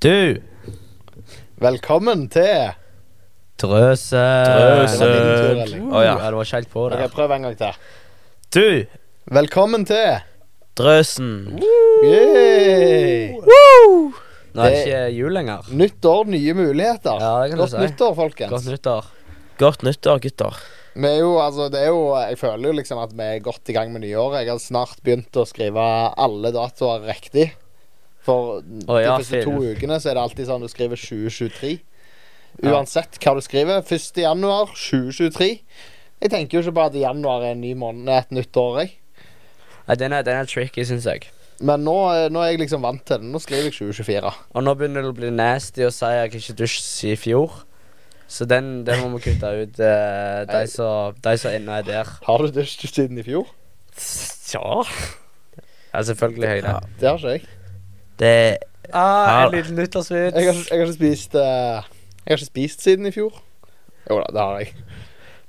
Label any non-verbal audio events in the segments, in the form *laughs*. Du, Velkommen til Trøse Det var din tur, Trøse Elling. Å ja, du var ikke helt på Ok, der. Prøv en gang til. Du, Velkommen til Drøsen. Yay! nå er det Det- ikke jul lenger. Nytt år, nye muligheter. Ja, det kan du Godt si. nyttår, folkens. Godt nyttår. Godt nyttår, gutter. Vi er jo, altså, det er jo Jeg føler jo liksom at vi er godt i gang med nyåret. Jeg har snart begynt å skrive alle datoer riktig. For ja, de fin. første to ukene så er det alltid sånn du skriver 2023. Ja. Uansett hva du skriver. 1. januar 2023. Jeg tenker jo ikke på at januar er en ny måned, et nytt år, jeg. Nei, den er, den er tricky, syns jeg. Men nå, eh, nå er jeg liksom vant til det. Nå skriver jeg 2024. Og nå begynner det å bli nasty å si at jeg ikke dusjet i fjor. Så den, den må vi kutte ut. Eh, de Nei. som de som ennå er der. Har du dusjet siden i fjor? Ja. Ja, selvfølgelig har jeg det. Det har ikke jeg. Det Ah, Ja. en liten Jeg har, nyttårsvits. jeg har ikke spist eh, Jeg har ikke spist siden i fjor. Jo da, det har jeg.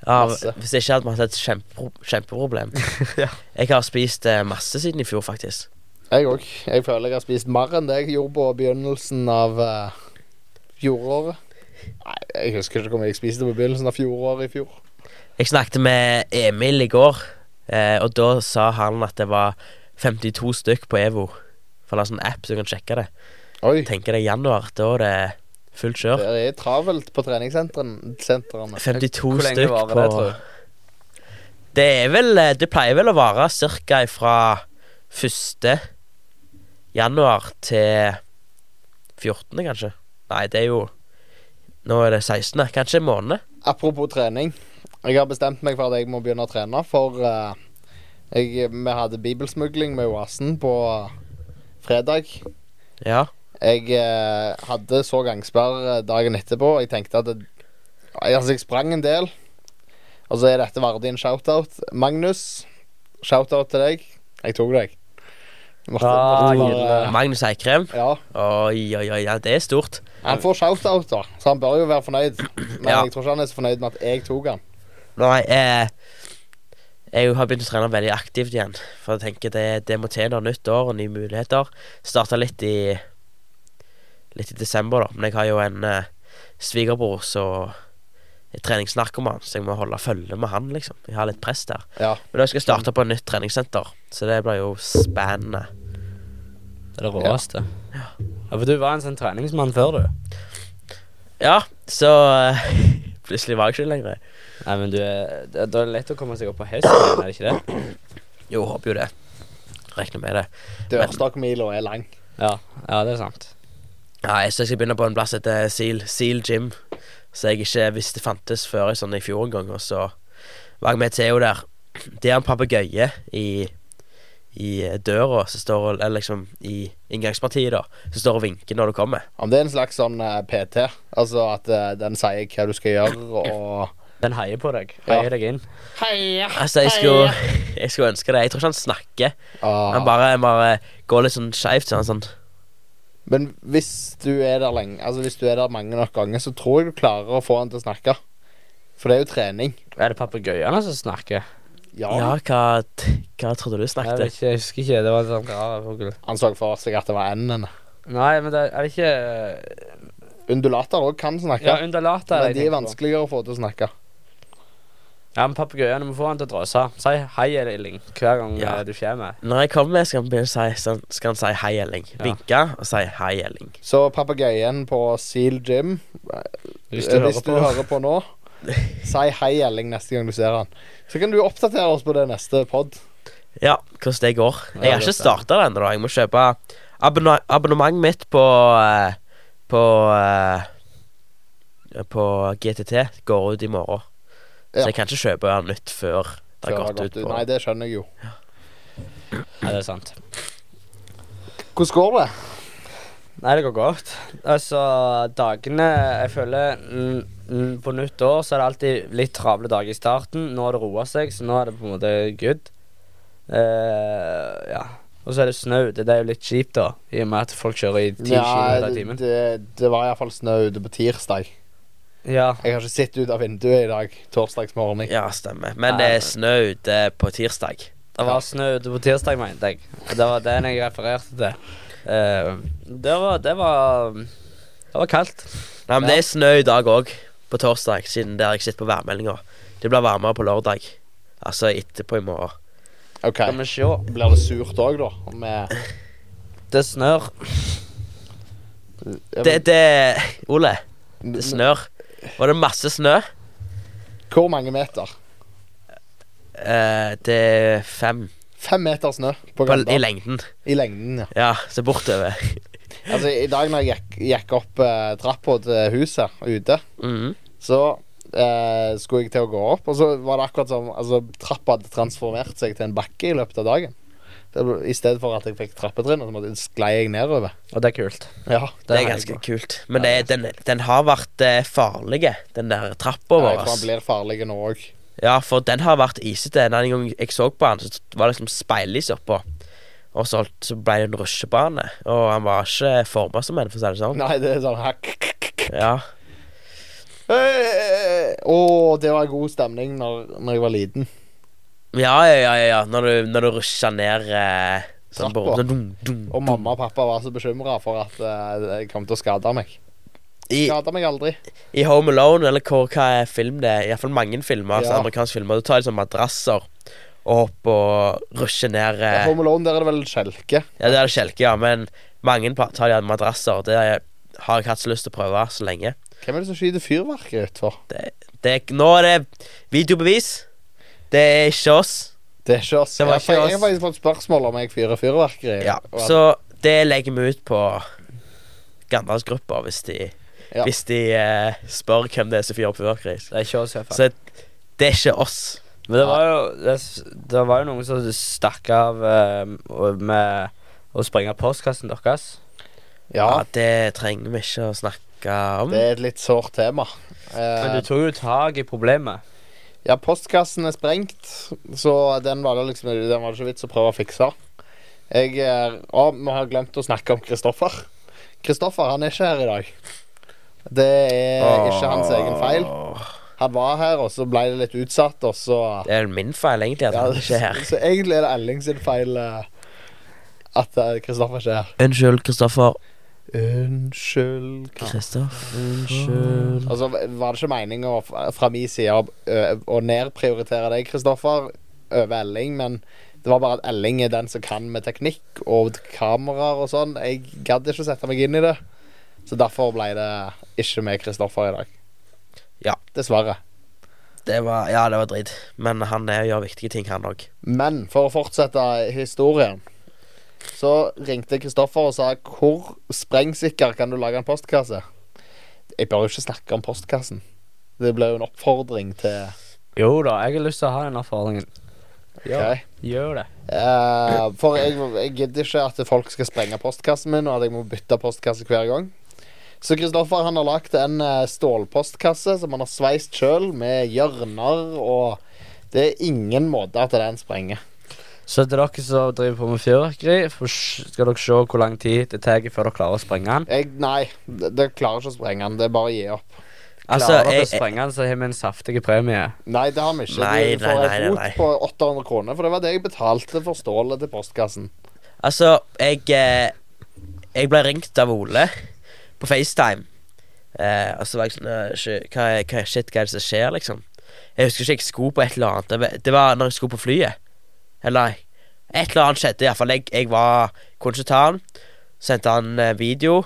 ja, Masse. Hvis ikke hadde vi hatt et kjempepro kjempeproblem. *laughs* Ja. Jeg har spist eh, masse siden i fjor, faktisk. Jeg òg. Jeg føler jeg har spist mer enn det jeg gjorde på begynnelsen av eh, fjoråret. Nei, jeg husker ikke hvor mye jeg spiste på begynnelsen av fjoråret i fjor. Jeg snakket med Emil i går, eh, og da sa han at det var 52 stykk på EVO. For det er en sånn app så du kan sjekke det. Oi. Tenker deg januar, da er det fullt kjør. Det er travelt på treningssentrene. 52 Hvor lenge stykk varer på det, tror du? Det er vel eh, Det pleier vel å vare ca. fra 1. januar til 14., kanskje. Nei, det er jo Nå er det 16., kanskje en måned. Apropos trening. Jeg har bestemt meg for at jeg må begynne å trene, for eh, jeg, vi hadde bibelsmugling med Oasen på fredag. Ja. Jeg eh, hadde så gangsperr dagen etterpå. og Jeg tenkte at det, jeg, Altså, jeg sprang en del. Og så er dette verdig en shout-out. Magnus, shout-out til deg. Jeg tok deg. Måtte- Ah, måtte bare- Magnus Eikrem. ja. Oi, oi, oi, ja, det er stort. Han får shout-out, da, så han bør jo være fornøyd. Men Ja. jeg tror ikke han er så fornøyd med at jeg tok han. Nei, eh, jeg har begynt å trene veldig aktivt igjen. For jeg tenker det, det må til når nytt år og nye muligheter. Starta litt i Litt i desember, da. Men jeg har jo en eh, svigerbror som er treningsnarkoman, så jeg må holde følge med han, liksom. Jeg har litt press der. Ja. Men da skal jeg starte på et nytt treningssenter, så det blir jo spennende. Det er det råeste. Ja. for du var en sånn treningsmann før, du. Ja, så *laughs* eh, Plutselig var jeg ikke det lenger. Nei, men du er, det, da er det lett å komme seg opp på hesten, er det ikke det? Jo, håper jo det. Regner med det. Dørstokkmila er lang. Ja, ja det er sant. Nei, så jeg skal begynne på en plass etter Seal, Seal Gym Som jeg ikke visste fantes før i, sånn, i fjor en gang Og så var jeg med Theo der *clears throat* Det er en papegøye i, i eh, døra som står, og- Eller liksom i inngangspartiet da Som står og vinker når du kommer Om det er en slags sånn eh, PT, altså at eh, den sier hva du skal gjøre, og Den heier på deg. Heier Ja. deg inn. Heia! Altså jeg skulle, *laughs* jeg skulle ønske det Jeg tror ikke han snakker ah. Han bare, bare går litt sånn skjevt sånn, sånn. Men hvis du er der lenge Altså hvis du er der mange nok ganger, så tror jeg du klarer å få han til å snakke. For det er jo trening. Er det papegøyene som snakker? Ja, Ja, hva, hva trodde Jeg, du vet snakket? ikke, jeg husker ikke. Det var en sånn rar fugl. Han så for seg at det var enden. Nei, men det er det ikke Undulater òg kan snakke, Ja, undulater er men det jeg de er tenker på. vanskeligere å få til å snakke. Ja, men papegøyene må få han til å drøse. Si hei, Elling, hver gang Ja. eh, du kommer. Når jeg kommer skal han, begynne å si, sånn- skal han si hei Elling Vinke og si hei Elling Så papegøyen på Seal Gym, eh, Hvis du hører hvis du på. hører på nå, *laughs* si hei, Elling, neste gang du ser han. Så kan du oppdatere oss på det neste pod. Ja, hvordan det går. det Jeg går har spennende. ikke starta det ennå. da. Jeg må kjøpe abonne abonnementet mitt på eh, På eh, På GTT. Går ut i morgen. Ja. Så jeg kan ikke kjøpe den nytt før det har gått ut. på Nei, det skjønner jeg jo. Ja, det er sant. Hvordan går det? Nei, det går godt. Altså, dagene Jeg føler mm, mm, På nytt år så er det alltid litt travle dager i starten. Nå har det roa seg, så nå er det på en måte good. Eh, ja. Og så er det snø ute. Det er jo litt kjipt, da, i og med at folk kjører i ti kilometer i det, timen. det, det var iallfall snø ute på tirsdag. Ja. Jeg har ikke sett ut av vinduet i dag. Torsdagsmorgen. Ja, stemmer. Men Nei, det men- er snø ute på tirsdag. Det var snø ute på tirsdag, mente jeg. Og Det var den jeg refererte til. Eh, det var Det var Det var kaldt. Nei, men Ja. det er snø i dag òg, på torsdag, siden det har jeg sett på værmeldinga. Det blir varmere på lørdag. Altså etterpå i morgen. OK. Skal vi se. Blir det surt òg, da? Med Det snør. Det, det Ole, Men- det snør. Var det masse snø? Hvor mange meter? Eh, det er fem Fem meter snø på på, i Grøndal. lengden. I lengden, ja. Ja, så bortover. Altså, I dag når jeg gikk, gikk opp eh, trappa til huset ute, Mhm. så eh, skulle jeg til å gå opp, og så var det akkurat som altså, trappa hadde transformert seg til en bakke i løpet av dagen. Det ble, I stedet for at jeg fikk trappetrinn, så måtte- sklei jeg nedover. Og det er kult. Ja. Det er heier ganske jeg på. kult. Men Ja, det, er- den, den har vært eh, farlig, den der trappa Jeg vår. tror han ass. blir farlig nå òg. Ja, for den har vært isete. Den gang jeg så på den, så var det liksom speilis oppå. Og så, holdt- så ble det en rusjebane, og han var ikke forma som en, for å si det *laughs* sånn. Nei, det er sånn hakk. Ja, Å, det var god stemning når, når jeg var liten. ja, ja, ja, ja, ja. Når, du, når du rusjer ned eh, sånn på Trappa. sånn dum, dum, Og mamma og pappa var så bekymra for at eh, jeg kom til å skade meg. I, Skada meg aldri. I Home Alone, eller hvor, hva er film det er, iallfall mange filmer, altså Ja. amerikanske filmer, du tar liksom madrasser og hopper og rusjer ned På eh, Home Alone der er det vel skjelke. Ja, det er det kjelke, ja, men mange par- tar de madrasser, og det har jeg- har jeg hatt så lyst til å prøve så lenge. Hvem er det som skyter fyrverkeri utfor? Det er, nå er det videobevis. Det er ikke oss. Det er ikke oss. Det var Jeg ikke har- oss. Jeg har faktisk fått spørsmål om jeg fyrer fyrverkeri. Ja, Og at- så det legger vi ut på Gandalfsgruppa hvis de, Ja. hvis de eh, spør hvem det er som fyrer opp fyrverkeri. Det er ikke oss, i hvert fall. Så det er ikke oss. Men det var jo Det, det var jo noen som stakk av eh, og- med å sprenge postkassen deres. Ja. ja, Det trenger vi ikke å snakke om. det er et litt sårt tema. Eh, Men du tok jo tak i problemet. ja, postkassen er sprengt, så den var det liksom Den var det ikke vits å prøve å fikse. Jeg er Å, vi har glemt å snakke om Kristoffer. Kristoffer han er ikke her i dag. Det er ikke hans egen feil. Åh, Han var her, og så ble det litt utsatt, og så Det er min feil, egentlig, at Ja, han ikke er her. Så, så egentlig er det Elling sin feil eh, at eh, Kristoffer ikke er her. Unnskyld, Kristoffer. Unnskyld Kristoff. Unnskyld. Altså, var det ikke meninga fra min side å, ø- å nedprioritere deg, Kristoffer, over Elling, men det var bare at Elling er den som kan med teknikk og kameraer og sånn. Jeg gadd ikke å sette meg inn i det, så derfor ble det ikke med Kristoffer i dag. Ja. Dessverre. Det var, ja, det var dritt. Men han er, gjør viktige ting, han òg. Men for å fortsette historien Så ringte Kristoffer og sa Hvor sprengsikker kan du lage en postkasse? Jeg bør jo ikke snakke om postkassen Det ble jo en oppfordring til Jo da, jeg har lyst til å ha den erfaringen. Ok. Gjør det. Eh, For jeg, jeg gidder ikke at folk skal sprenge postkassen min Og at jeg må bytte postkasse hver gang Så Kristoffer han har lagt en eh, stålpostkasse Som han har sveist selv Med hjørner og Det er ingen måte at den sprenger Så til dere som driver på med fyrverkeri, får s- skal dere se hvor lang tid det tar før dere klarer å sprenge den. jeg, Nei, det, det klarer ikke å sprenge den Det er bare å gi opp Altså, klarer dere jeg, å sprenge den, så har vi en saftig premie. Nei, det har vi ikke. Nei, du nei, får nei, en fot nei. på 800 kroner, for det var det jeg betalte for stålet til postkassen. Altså, jeg eh, Jeg ble ringt av Ole på FaceTime. Eh, og så var jeg sånn eh, shit, hva, er- hva, er- Shit, hva er det som skjer, liksom? Jeg husker ikke jeg skulle på et eller annet. Det var- Det var når jeg skulle på flyet. Eller nei. Et eller annet skjedde, iallfall. Jeg, jeg var kunne ikke ta han. Sendte han eh, video,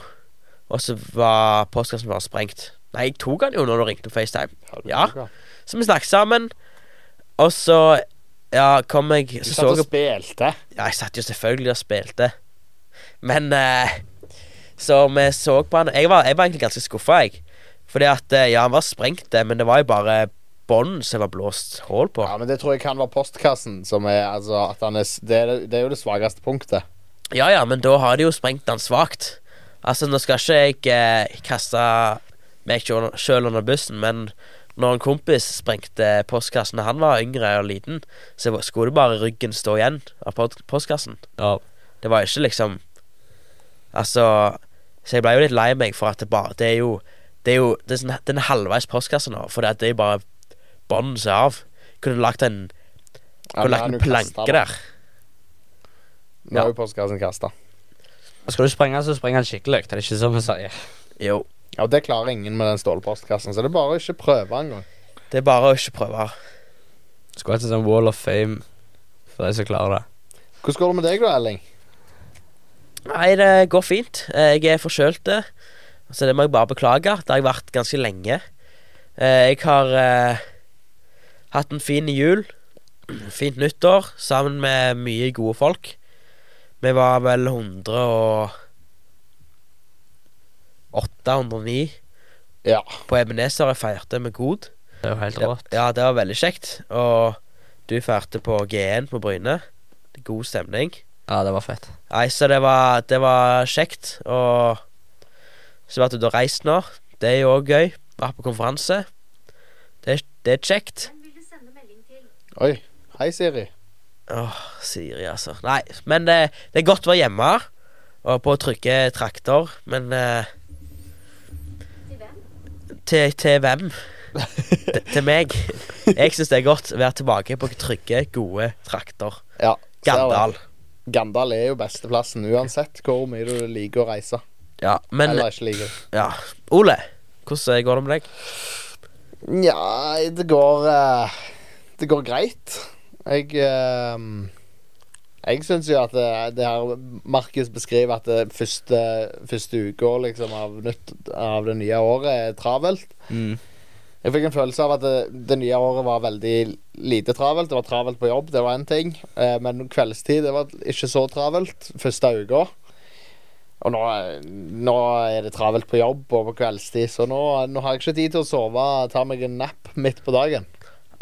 og så var postkassen bare sprengt. Nei, jeg tok han jo når du ringte på FaceTime. Ja. Så vi snakket sammen, og så Ja, kom jeg Du satt så så og jeg spilte. ja, jeg satt jo selvfølgelig og spilte. Men eh, Så vi så på han Jeg var, jeg var egentlig ganske skuffa, jeg. Fordi at eh, Ja, han var sprengt, det, men det var jo bare bånd som var blåst hull på. Ja, men det tror jeg kan være postkassen som er Altså, at han er s- Det er, det er jo det svakeste punktet. Ja ja, men da har de jo sprengt han svakt. Altså, nå skal ikke jeg eh, kaste meg sjøl sjøl under bussen, men når en kompis sprengte postkassen da han var yngre og liten, så skulle bare ryggen stå igjen av pod- postkassen. Ja. Det var ikke liksom Altså Så jeg ble jo litt lei meg for at det bare Det er jo Det er jo Det er, sånn, det er en halvveis postkasse nå, for det at det er jo bare bånd som er av. Kunne lagt en, Ja, kunne men lagt han en er jo kastet, planke da. der. Nå er jo postkassen kasta. Skal du sprenge den, så spreng den skikkelig. Det er ikke sånn vi sier. Jo. Ja, og Det klarer ingen med den stålpostkassen, så det er bare å ikke prøve engang. Det er bare å ikke prøve. Skulle hatt en sånn wall of fame for de som klarer det. Hvordan går det med deg, da, Elling? Nei, det går fint. Eh, Jeg er forkjølt, eh, så det må jeg bare beklage. Det har jeg vært ganske lenge. Eh, Jeg har eh, hatt en fin jul, fint nyttår, sammen med mye gode folk. Vi var vel 100 og 809 Ja. på Ebenezer og feirte med god. Det er jo helt Ja, rått. ja, det var veldig kjekt. Og du feirte på G1 på Bryne. God stemning. Ja, det var fett. Nei, så det var, det var kjekt. Og så vært ute og reist nå. Det er jo òg gøy. Vært på konferanse. Det, det er kjekt. Hvem vil du sende melding til? Oi. Hei, Siri. Åh, Siri, altså. Nei, men eh, det er godt å være hjemme og på trygge trakter. Men eh, Til hvem? til, til hvem? Til- til meg. Jeg syns det er godt å være tilbake på trygge, gode trakter. Ja. ser du. Gandal. Gandal er jo besteplassen, uansett hvor mye du liker å reise. Ja, men Eller ikke liker. ja. Ole, hvordan går det med deg? Nja, det går eh, Det går greit. Jeg eh, Jeg syns jo at eh, det, det her Markus beskriver at det første, første uka liksom, av, nytt, av det nye året er travelt. Mm. Jeg fikk en følelse av at det, det nye året var veldig lite travelt. Det var travelt på jobb, det var én ting. Eh, men kveldstid det var ikke så travelt første uka. Og nå, nå er det travelt på jobb og på kveldstid, så nå, nå har jeg ikke tid til å sove. Ta meg en napp midt på dagen.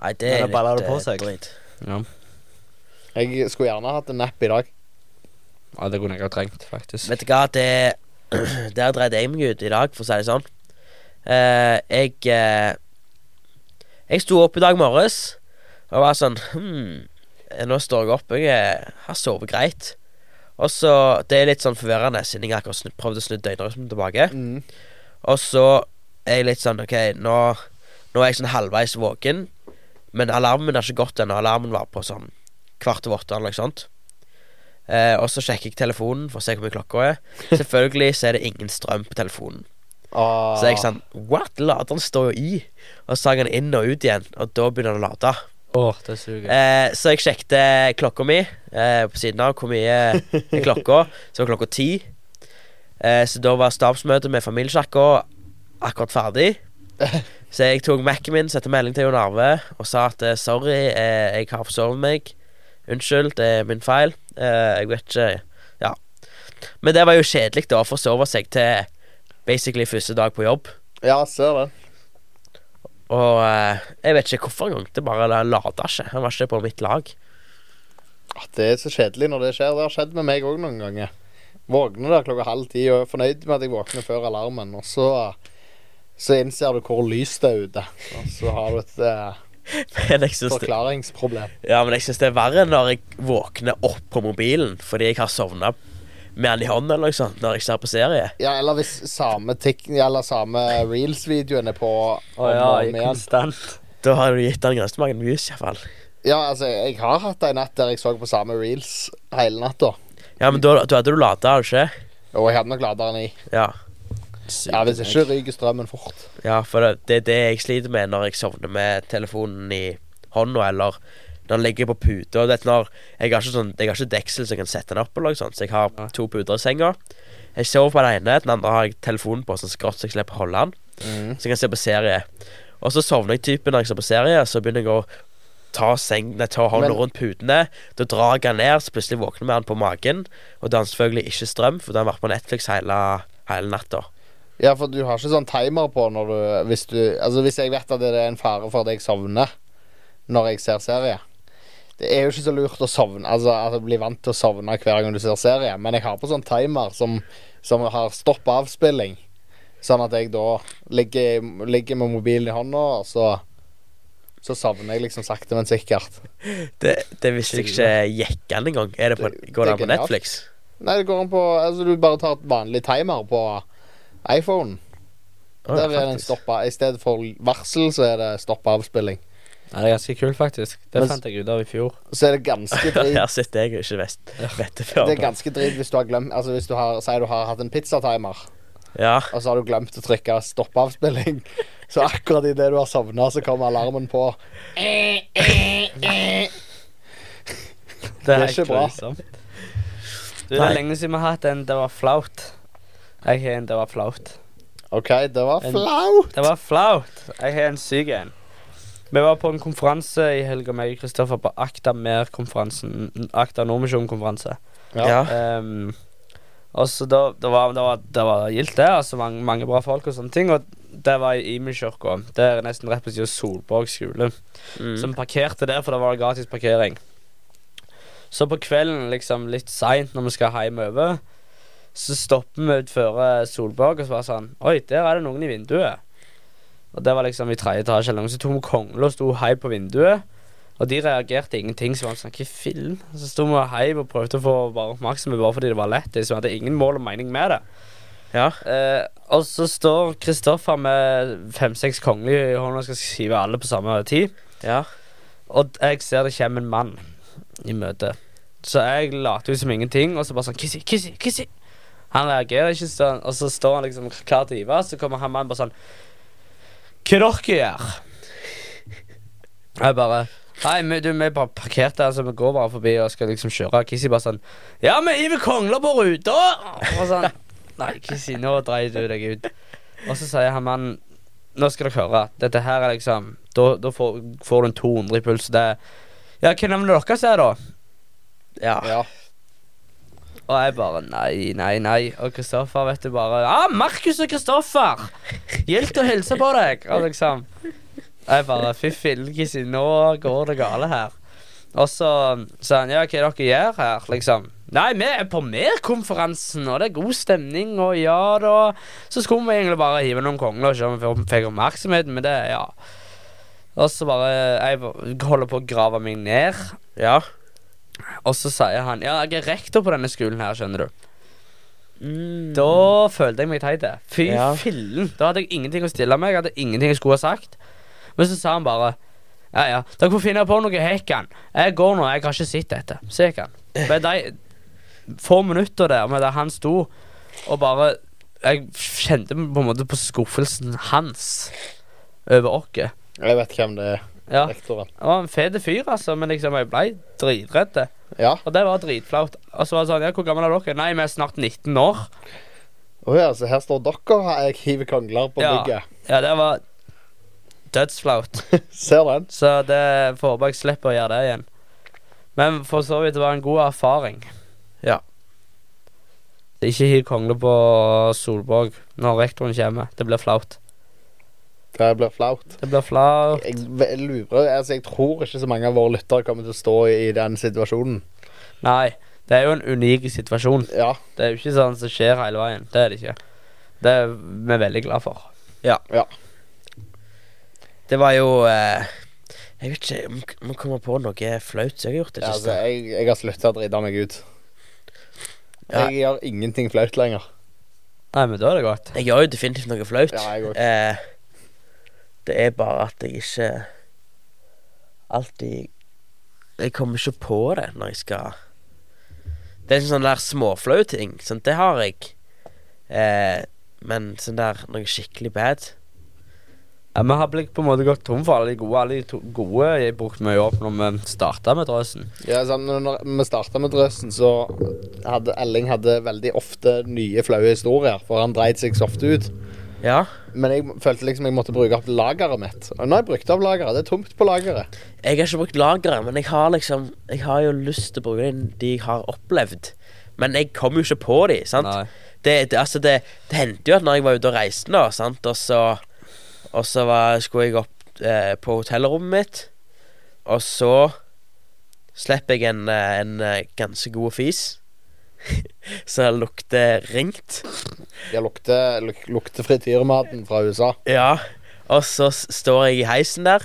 Nei, det Men er det baller litt det på eh, seg. drit. Ja. Jeg skulle gjerne hatt en napp i dag. ja, det kunne jeg ha trengt, faktisk. Vet du hva, det *clears throat* Der dreide jeg meg ut i dag, for å si det sånn. Eh, jeg eh, Jeg sto opp i dag morges og var sånn Hm, nå står jeg opp. Jeg eh, har sovet greit. Og så Det er litt sånn forvirrende, siden jeg akkurat snu, prøvde å snu døgnrytmen tilbake. Mm. Og så er jeg litt sånn OK, nå, nå er jeg sånn halvveis våken. Men alarmen er ikke gått ennå. Alarmen var på sånn kvart over åtte eller noe sånt. Eh, og så sjekker jeg telefonen for å se hvor mye klokka er. Selvfølgelig så er det ingen strøm på telefonen. Ah, Så er jeg sånn What? Laderen står jo i. Og så sager den inn og ut igjen, og da begynner den å lade. Åh, det suger. Eh, så jeg sjekket klokka mi eh, på siden av hvor mye er klokka. Så var klokka ti. Eh, så da var stabsmøtet med familiesjakka akkurat ferdig. Så jeg tok Mac-en min, sendte melding til Jon Arve og sa at eh, sorry, eh, jeg har forsovet meg. Unnskyld, det er min feil. Eh, jeg vet ikke Ja. Men det var jo kjedelig, da, å forsove seg til basically første dag på jobb. Ja, ser det. Og eh, jeg vet ikke hvorfor engang. Det bare lada ikke. Han var ikke på mitt lag. *laughs* Ah, Det er så kjedelig når det skjer. Det har skjedd med meg òg noen ganger. Våkner der klokka halv ti og er fornøyd med at jeg våkner før alarmen, og så så innser du hvor lyst det er ute. Og så har du et eh, Men jeg synes det, forklaringsproblem. ja, men jeg synes det er verre når jeg våkner opp på mobilen fordi jeg har sovna med den i hånden eller noe sånt når jeg ser på serie. Ja, eller hvis samme, tik- eller samme reels-videoen er på Å ja, i konstant. Da har du gitt den ganske mange views, iallfall. Ja, altså, jeg har hatt ei natt der jeg så på samme reels hele natta. Ja, men da, da hadde du lada, hadde du ikke? Og jeg hadde nok laderen i. Ja. Ja, Hvis ikke ryker strømmen fort. ja, for det, det er det jeg sliter med når jeg sovner med telefonen i hånda, eller når den ligger på puta. Du vet, når- Jeg har ikke sånn, jeg har ikke deksel så jeg kan sette den opp, eller noe sånt, så jeg har Nei. to puter i senga. Jeg sover på den ene, den andre har jeg telefonen på, sånn skrått så jeg slipper å holde den. Mm. Så jeg kan se på serie. Og så sovner jeg typen når jeg ser på serie, så begynner jeg å ta, seng, nei, ta hånda Men- rundt putene. Da drar jeg den ned, så plutselig våkner vi han på magen. Og da har han selvfølgelig ikke strøm, for da har han vært på Netflix hele, hele natta. Ja, for du har ikke sånn timer på når du Hvis du Altså, hvis jeg vet at det er en fare for at jeg sovner når jeg ser serie. Det er jo ikke så lurt å sovne Altså at jeg blir vant til å sovne hver gang du ser serie, men jeg har på sånn timer som, som har stopp avspilling. Sånn at jeg da ligger, ligger med mobilen i hånda, og så Så sovner jeg liksom sakte, men sikkert. Det, det visste jeg ikke gikk an engang. Er det på, Det- går det det er an på genialt. Netflix? Nei, det går an på Altså, du bare tar et vanlig timer på iPhonen. Å, Der er det en faktisk. stopp av I stedet for varsel, så er det stopp avspilling. Ja, det er ganske kult, faktisk. Det Men- fant jeg ut av i fjor. så er det *laughs* ganske drit Her sitter jeg og ikke vet, vet det Det før. er ganske drit hvis du har glemt Altså hvis du har Sier du har hatt en pizzatimer Ja. og så har du glemt å trykke stoppavspilling. *laughs* Så akkurat idet du har sovna, så kommer alarmen på. Det er, er ikke ikke bra. bra. Du, det Nei. er lenge siden vi har hatt en 'det var flaut'. Jeg har en 'det var flaut'. OK, det var En- flaut. Det var flaut! Jeg har en syk en. Vi var på en konferanse i helga, meg og Kristoffer, på Akta Mer-konferansen. Akta Nordmisjon-konferanse. Ja. ja. Ehm, og så da, da var det, var, det var gildt, det. Altså mange, mange bra folk og sånne ting. Og det var i Imekirka. Det er nesten rett på siden av Solborg skole. Mm. Som parkerte der, for det var gratis parkering. Så på kvelden, liksom litt seint når vi skal hjem over, så stopper vi utenfor Solborg og så var det sånn Oi, der er det noen i vinduet. Og det var liksom i tredje etasje eller noe. Så tok vi kongla og sto hei på vinduet. Og de reagerte ingenting, så var det sånn Hva film? Så sto vi og hei og prøvde å få bare oppmerksomhet bare fordi det var lett. Så vi hadde ingen mål og mening med det. ja. Eh, og så står Kristoffer med fem-seks kongelige i hånda og skal skrive alle på samme tid. Ja. Og jeg ser det kommer en mann i møte. Så jeg later jo som ingenting, og så bare sånn Kissi, kissi, kissi. Han reagerer ikke, så, og så står han liksom klar til å hive, så kommer han mannen bare sånn Hva dere gjør? Jeg bare Hei, vi, du, vi bare parkerte, altså vi går bare forbi og skal liksom kjøre. Kissi bare sånn Ja, vi hiver kongler på ruta! Og sånn Nei, Kissi, nå dreier du deg ut. Og så sier han mannen nå skal dere høre. Dette her er liksom Da, da får, får du en 200 i puls. Det er- Ja, hva navnet deres er, da? Ja. Ja. Og jeg bare nei, nei, nei. Og Kristoffer, vet du, bare Ja, ah, Markus og Kristoffer! Gildt å hilse på deg! Og liksom Jeg bare Fy filkisi, nå går det gale her. Og så sa han ja, hva er det dere gjør her, liksom? Nei, vi er på mer-konferansen, og det er god stemning, og ja da Så skulle vi egentlig bare hive noen kongler og se om vi får- fikk oppmerksomhet, men det, ja. Og så bare Jeg holder på å grave meg ned. Ja. Og så sier han Ja, jeg er rektor på denne skolen her, skjønner du. Mm. Da følte jeg meg teit. jeg. Fy Ja. fillen. Da hadde jeg ingenting å stille meg. Jeg hadde ingenting jeg skulle ha sagt. Men så sa han bare Ja, ja, dere får finne på noe hekkan. Jeg går nå. Jeg har ikke sett dette. Så gikk han. Med de få minutter der med det han sto og bare Jeg kjente på en måte på skuffelsen hans over oss. Jeg vet hvem det er. Ja, det Rektoren. var en fet fyr, altså, men liksom, jeg ble dritredd. Ja. Og det var dritflaut. Og så var det sånn Ja, hvor gammel er dere? Nei, vi er snart 19 år. Å ja, så her står dere og jeg hiver kongler på Ja. bygget. Ja, det var dødsflaut. Ser den? Så det får håpe jeg slipper å gjøre det igjen. Men for så vidt det var en god erfaring. Ja. Ikke hiv kongle på Solborg når rektoren kommer. Det blir flaut. Det blir flaut. Det blir flaut. Jeg ve- lurer Altså, jeg tror ikke så mange av våre lyttere kommer til å stå i den situasjonen. Nei, det er jo en unik situasjon. Ja. Det er jo ikke sånn som skjer hele veien. Det er det ikke. Det er vi veldig glad for. Det var jo eh, Jeg vet ikke om om jeg kommer på noe flaut som jeg har gjort. Ja, Det altså, siste. jeg, jeg har slutta å drite meg ut. Ja. Jeg gjør ingenting flaut lenger. Nei, men da er det godt. Jeg gjør jo definitivt noe flaut. Ja, jeg òg. Eh, det er bare at jeg ikke alltid Jeg kommer ikke på det når jeg skal Det er ikke sånn der småflau ting. Sånn, det har jeg. Eh, men sånn der noe skikkelig bad Ja, Vi har blitt på en måte gått tom for alle de gode. Alle de to gode jeg brukte mye opp når vi starta med drøsen. Ja, sånn, når- når vi starta med Drøsen, så hadde Elling hadde veldig ofte nye flaue historier, for han dreit seg så ofte ut. Ja. Men jeg følte liksom jeg måtte bruke opp lageret mitt. Og nå har jeg brukt opp lageret. Det er tomt på lageret. Jeg har ikke brukt lageret, men jeg har liksom Jeg har jo lyst til å bruke de- de jeg har opplevd. Men jeg kommer jo ikke på de, sant? Nei. Det, det, altså det, det hendte jo at når jeg var ute og reiste, da, sant? Og så, og så var, skulle jeg opp eh, på hotellrommet mitt, og så slipper jeg en, eh, en eh, ganske god fis. *laughs* så lukter ringt. Jeg lukter, luk, lukter frityrmaten fra USA. Ja, og så s- står jeg i heisen der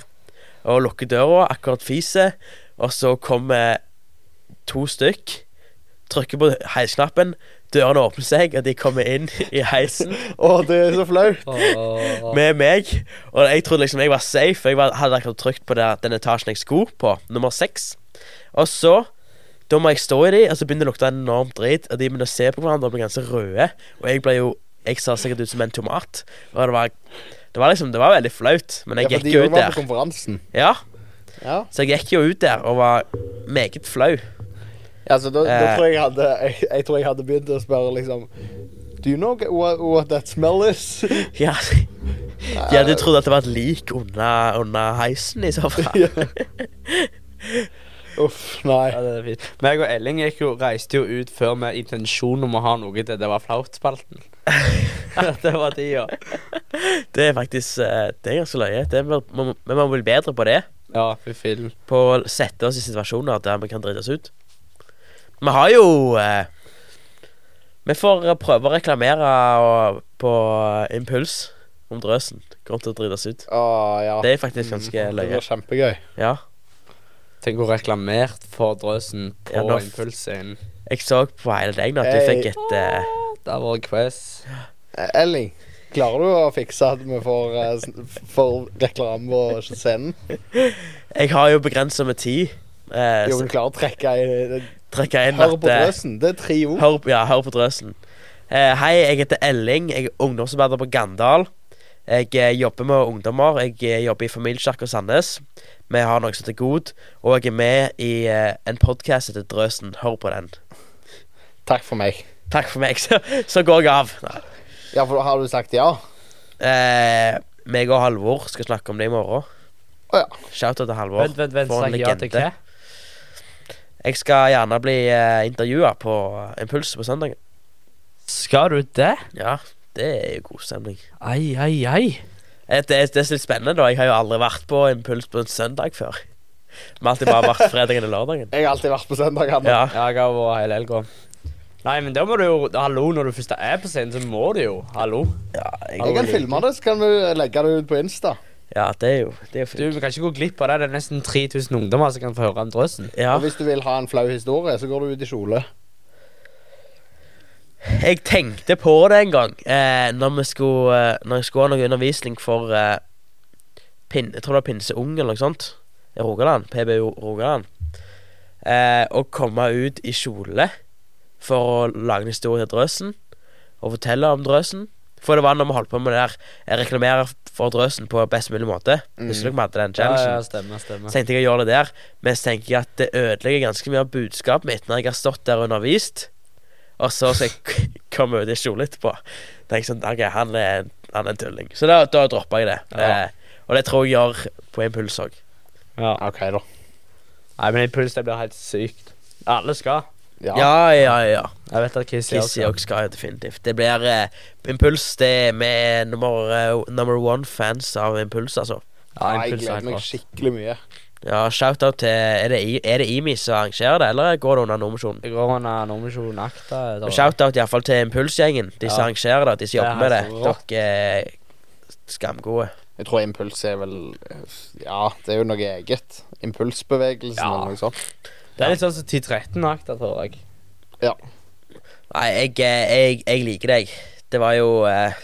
og lukker døra, akkurat fiser, og så kommer to stykk, trykker på heisknappen, dørene åpner seg, og de kommer inn *laughs* i heisen Å, det er så flaut. Åh. med meg. Og jeg trodde liksom jeg var safe, for jeg var, hadde akkurat trykt på der, den etasjen jeg skulle på, nummer seks. Og så da må jeg stå i de, og så begynner det å lukte enormt drit, og de begynner å se på hverandre og blir ganske røde, og jeg blir jo Jeg ser sikkert ut som en tomat. Og det var, det var liksom Det var veldig flaut, men jeg ja, for gikk de jo også ut var på der. konferansen. Ja, Ja. så jeg gikk jo ut der og var meget flau. *laughs* Ja, så Altså, da, da Eh. tror jeg jeg hadde jeg, jeg tror jeg hadde begynt å spørre liksom Do you know what, what that smell is? Ja, *laughs* ja du trodde at det var et lik under, under heisen i så fall? Ja. *laughs* Uff, nei. Ja, det er fint. Meg og Elling gikk jo, reiste jo ut før med intensjon om å ha noe til det var flaut-spalten. det var de, ja. Det er faktisk eh, Det er ganske løye. Det er, man, men man blir bedre på det. Ja, fy fillen. På å sette oss i situasjoner der vi kan drite oss ut. Vi har jo eh, Vi får eh, prøve å reklamere og, på eh, impuls om drøsen. Grunn til å drite oss ut. Å, Ah, ja. Mm, Det er faktisk ganske Det løye. var kjempegøy. Ja. Tenk å reklamert for drøsen på Ja, nå- impulsen. Jeg så på hele deg nå at du Hey. fikk et eh, Det var quiz. Eh, Elling, klarer du å fikse at vi får, eh, sn- får reklame på scenen? Jeg har jo begrensa med tid. Eh, Jo, så vi klarer å trekke i trekker jeg inn Hør at på eh, drøsen. Det er tre ord. Hør, ja, hør på drøsen. Eh, hei, jeg heter Elling. Jeg er ungdomsarbeider på Gandal. Jeg eh, jobber med ungdommer. Jeg eh, jobber i Familiekirka Sandnes. Vi har noe som heter God, og jeg er med i eh, en podkast som heter Drøsen. Hør på den. Takk for meg. Takk for meg. *laughs* Så, så går jeg av. Nei. Ja, for har du sagt ja? Eh, meg og Halvor skal snakke om det i morgen. Å ja. Shout-out til Halvor. Vent, vent, vent. For en Snakk ja til legende. hva? Jeg skal gjerne bli eh, intervjua på Impulset på søndagen. Skal du det? Ja, det er jo god stemning. Ai, ai, ai. Eh, Det, det er så litt spennende, da. Jeg har jo aldri vært på Impuls på en søndag før. Vi har alltid bare vært fredagen og lørdagen. Jeg har alltid vært på søndagene. Ja, Ja, jeg har vært hele helga. Nei, men da må du jo Hallo, når du først er på scenen, så må du jo. Hallo. ja, Jeg jeg, kan filme det, så kan vi legge det ut på Insta. ja det er jo det er jo Du, fint. Vi kan ikke gå glipp av det. Det er nesten 3000 ungdommer som kan få høre om drøsen. Ja. Og hvis du vil ha en flau historie, så går du ut i kjole. Jeg tenkte på det en gang eh, når, vi skulle, eh, når jeg skulle ha noe undervisning for eh, pin, Jeg tror det var Pinseung eller noe sånt i Rogaland. PBO Rogaland. Eh, å komme ut i kjole for å lage en historie til Drøsen og fortelle om Drøsen. For det var når vi holdt på med det der eh, reklamere for Drøsen på best mulig måte. Husker dere vi hadde den challengen? Mm. Ja, ja, stemmer, stemmer. Så tenkte jeg å gjøre det der, men så tenker jeg at det ødelegger ganske mye av budskapet mitt når jeg har stått der og undervist, og så skal jeg k- *laughs* komme ut i kjole etterpå. Tenk sånn, ok, han er, han er en tulling. Så da, da droppa jeg det. Ja. Eh, og det tror jeg gjør på impuls òg. Ja. OK, da. Nei, men impuls, det blir helt sykt. Alle skal. Ja. Ja, ja, ja. Jeg vet at Kissy også Kissy skal. òg skal jo definitivt. Det blir eh, impuls. Det er med nummer, eh, number one-fans av impuls, altså. Ja, impuls jeg er gleder helt meg rått. skikkelig mye. Ja, shout-out til Er det, I- er det IMI som arrangerer det, eller går det under Nordmisjonen? Det går under Nordmisjonen Akta. da. Shout-out iallfall til Impulsgjengen. De som Ja. arrangerer det, de som Det er jobber med det. helt rått. Dere er skamgode. Jeg tror impuls er vel Ja, det er jo noe eget. Impulsbevegelsen Ja. eller noe sånt. Det er litt sånn som 10-13 Akta, tror jeg. Nei, jeg, eh, jeg, jeg liker deg. Det var jo eh,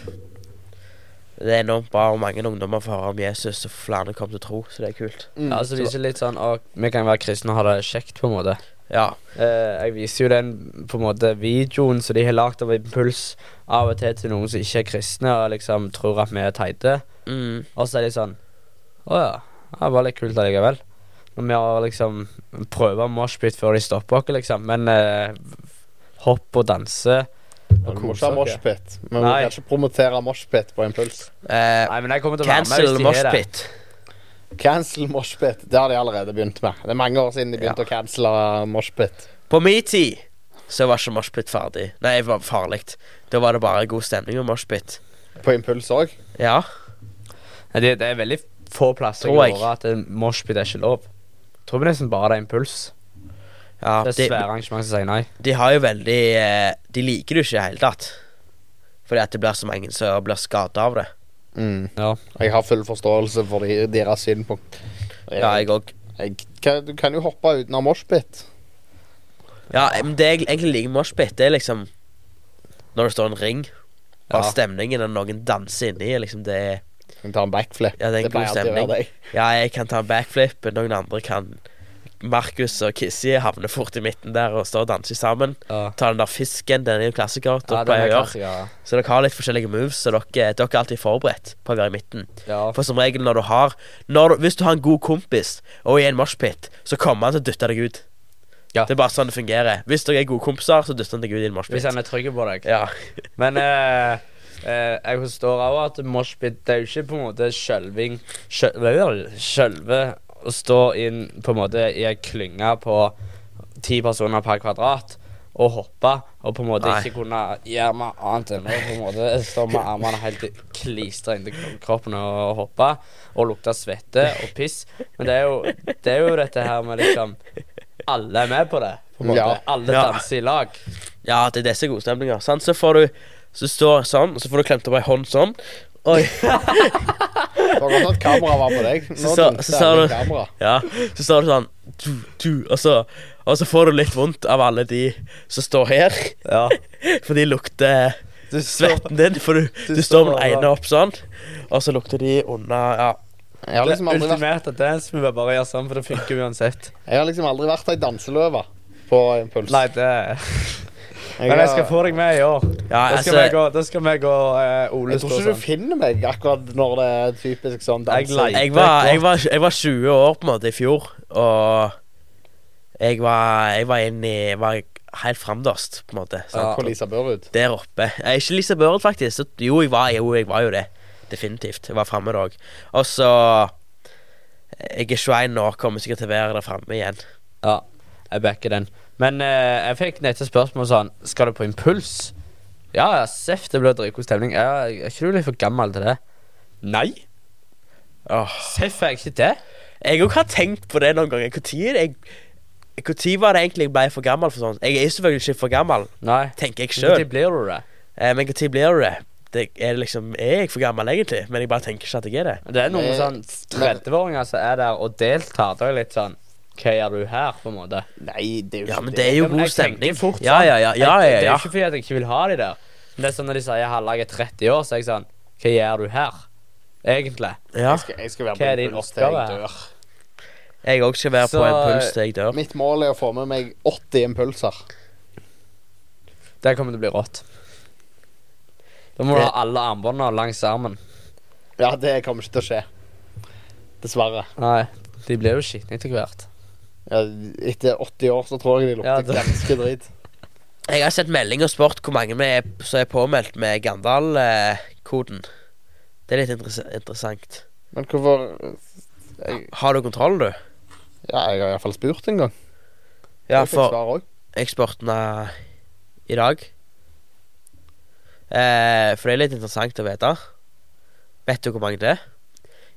Det er enormt bra og mange ungdommer får høre om Jesus, og flere kommer til å tro, så det er kult. Mm. Ja, så viser det litt sånn at vi kan være kristne og ha det kjekt, på en måte. Ja. Eh, jeg viser jo den på en måte videoen som de har lagd av Impuls av og til til noen som ikke er kristne og liksom tror at vi er teite. Mm. Og så er de sånn Å ja, ja, det var litt kult allikevel. Når vi har liksom prøver moshpit før de stopper oss, liksom. Men eh, hopp og danse og Vi må kose ikke ha oss. moshpit. Men vi Nei. kan ikke promotere moshpit på impuls. Eh, Nei, men jeg kommer til å være med cancel hvis de har det. moshpit. Cancel moshpit. Det har de allerede begynt med. Det er mange år siden de begynte å cancele moshpit. På min tid så var ikke moshpit ferdig. Nei, det var farlig. Da var det bare god stemning med moshpit. På impuls òg. Ja. Nei, Det, det er veldig få plasser i Tror jeg. året at en moshpit er ikke lov. Jeg tror vi nesten bare det er impuls. ja Det er det- svære arrangement som sier nei. De har jo veldig eh, De liker det jo ikke i det hele tatt. Fordi at det blir så mange som blir skada av det. Mm. Ja. Jeg har full forståelse for de, deres synpunkt. Ja, jeg òg. jeg kan, du kan jo hoppe utenom moshpit. Ja, eh, men det jeg egentlig liker med moshpit, det er liksom Når det står en ring, bare Ja. stemningen og noen danser inni, liksom det er Du kan ta en backflip. Ja, det er en god pleier alltid å stemning. være deg. Ja, jeg kan ta en backflip, men noen andre kan Markus og Kissy havner fort i midten der og står og danser sammen. Ja. Ta den der fisken, den er jo en klassiker. Ja, Dere den pleier er å gjøre. klassiker. Så dere har litt forskjellige moves, så dere, dere er alltid forberedt på å være i midten. Ja. For som regel når du har når du, Hvis du har en god kompis og er i en moshpit, så kommer han til å dytte deg ut. Ja. Det er bare sånn det fungerer. Hvis dere er gode kompiser, så dytter han deg ut i en moshpit. Hvis han er trygg på deg. Ja. Men eh, eh, jeg forstår òg at moshpit det er jo ikke på en måte skjelving skjøl- Skjelve å stå inn på en måte i ei klynge på ti personer per kvadrat og hoppe og på en måte Nei. ikke kunne gjøre noe annet enn å på en måte stå med armene helt klistra inntil kroppen og hoppe og lukte svette og piss. Men det er jo, det er jo dette her med liksom Alle er med på det. På en måte. Ja. Alle Ja. danser i lag. ja, det er disse godstemninger. Sant? Så får du Så står sånn, og så får du klemt opp ei hånd sånn. *laughs* Oi. Det var godt at kameraet var på deg. Nå Så sa- tenkte så sa jeg du- kamera. Ja, så står det sånn tu, tu, og, så, og så får du litt vondt av alle de som står her. Ja. *laughs* For de lukter svetten din. For du, du du, står med står den ene bra. opp sånn, og så lukter de under Ja, Jeg har Det liksom aldri vært, ultimate dance vi bør bare gjøre sånn, for det funker uansett. jeg har liksom aldri vært ei danseløve på *laughs* impuls. Nei, det Men jeg skal få deg med i år. Da skal ja altså vi gå, da skal vi gå eh, Ole Jeg tror ikke du Storsand. finner meg akkurat når det er typisk sånn Jeg danse. leter. jeg var, jeg, var, jeg var 20 år på en måte i fjor, og jeg var, jeg var inn i Jeg var helt fremderst, på en måte. sant? Ja. På Lisa Børud. Der oppe. Jeg er ikke Lise Børud, faktisk. Så, jo, jeg var, jo, jeg var jo det. Definitivt. Jeg var framme da òg. Og så Jeg er 21 nå, kommer sikkert til å være der framme igjen. Ja, jeg backer den. Men eh, jeg fikk nettopp spørsmål sånn Skal du på impuls? Ja, ja, seff, det blir dritgod stemning. Ja, er ikke du litt for gammel til det? Nei. Åh. Seff er jeg ikke det. Jeg òg har tenkt på det noen ganger. Hvor tid jeg hvor tid var det egentlig jeg ble for gammel for sånt? Jeg er selvfølgelig ikke for gammel, Nei. tenker jeg Når sjøl. blir du det? Eh, men når blir du det? det er, det liksom, er jeg for gammel egentlig? Men jeg bare tenker ikke at jeg er det. Det er noen Nei. sånn 30-åringer som er der og deltar. Da er jeg litt sånn Hva gjør du her, på en måte? Nei, det er jo Ja, ikke men det er jo men god jeg tenker stemning. fort, Ja, sant? ja, ja. ja, jeg, ja, det er jo ja. ikke fordi at jeg ikke vil ha de der. Men det er sånn når de sier Halla, jeg er 30 år, så er jeg sånn Hva gjør du her? Egentlig. ja. Jeg skal, jeg skal være Hva er på din impuls til jeg oppgave? dør. Jeg òg skal være på Så- en puls til jeg dør. Mitt mål er å få med meg 80 impulser. Det kommer til å bli rått. Da må du Det- ha alle armbåndene langs armen. Ja, det kommer ikke til å skje. Dessverre. Nei, de blir jo skitne etter hvert. Ja, etter 80 år så tror jeg de Ja, lukter det- ganske drit. Jeg har sett melding og spurt hvor mange vi er, som er påmeldt med Gandal-koden. Det er litt interess interessant. Men hvorfor Har du kontroll, du? Ja, jeg har iallfall spurt en gang. Ja, Jeg fikk for svar også. jeg spurte henne i dag. Eh, for det er litt interessant å vite. Vet du hvor mange det er?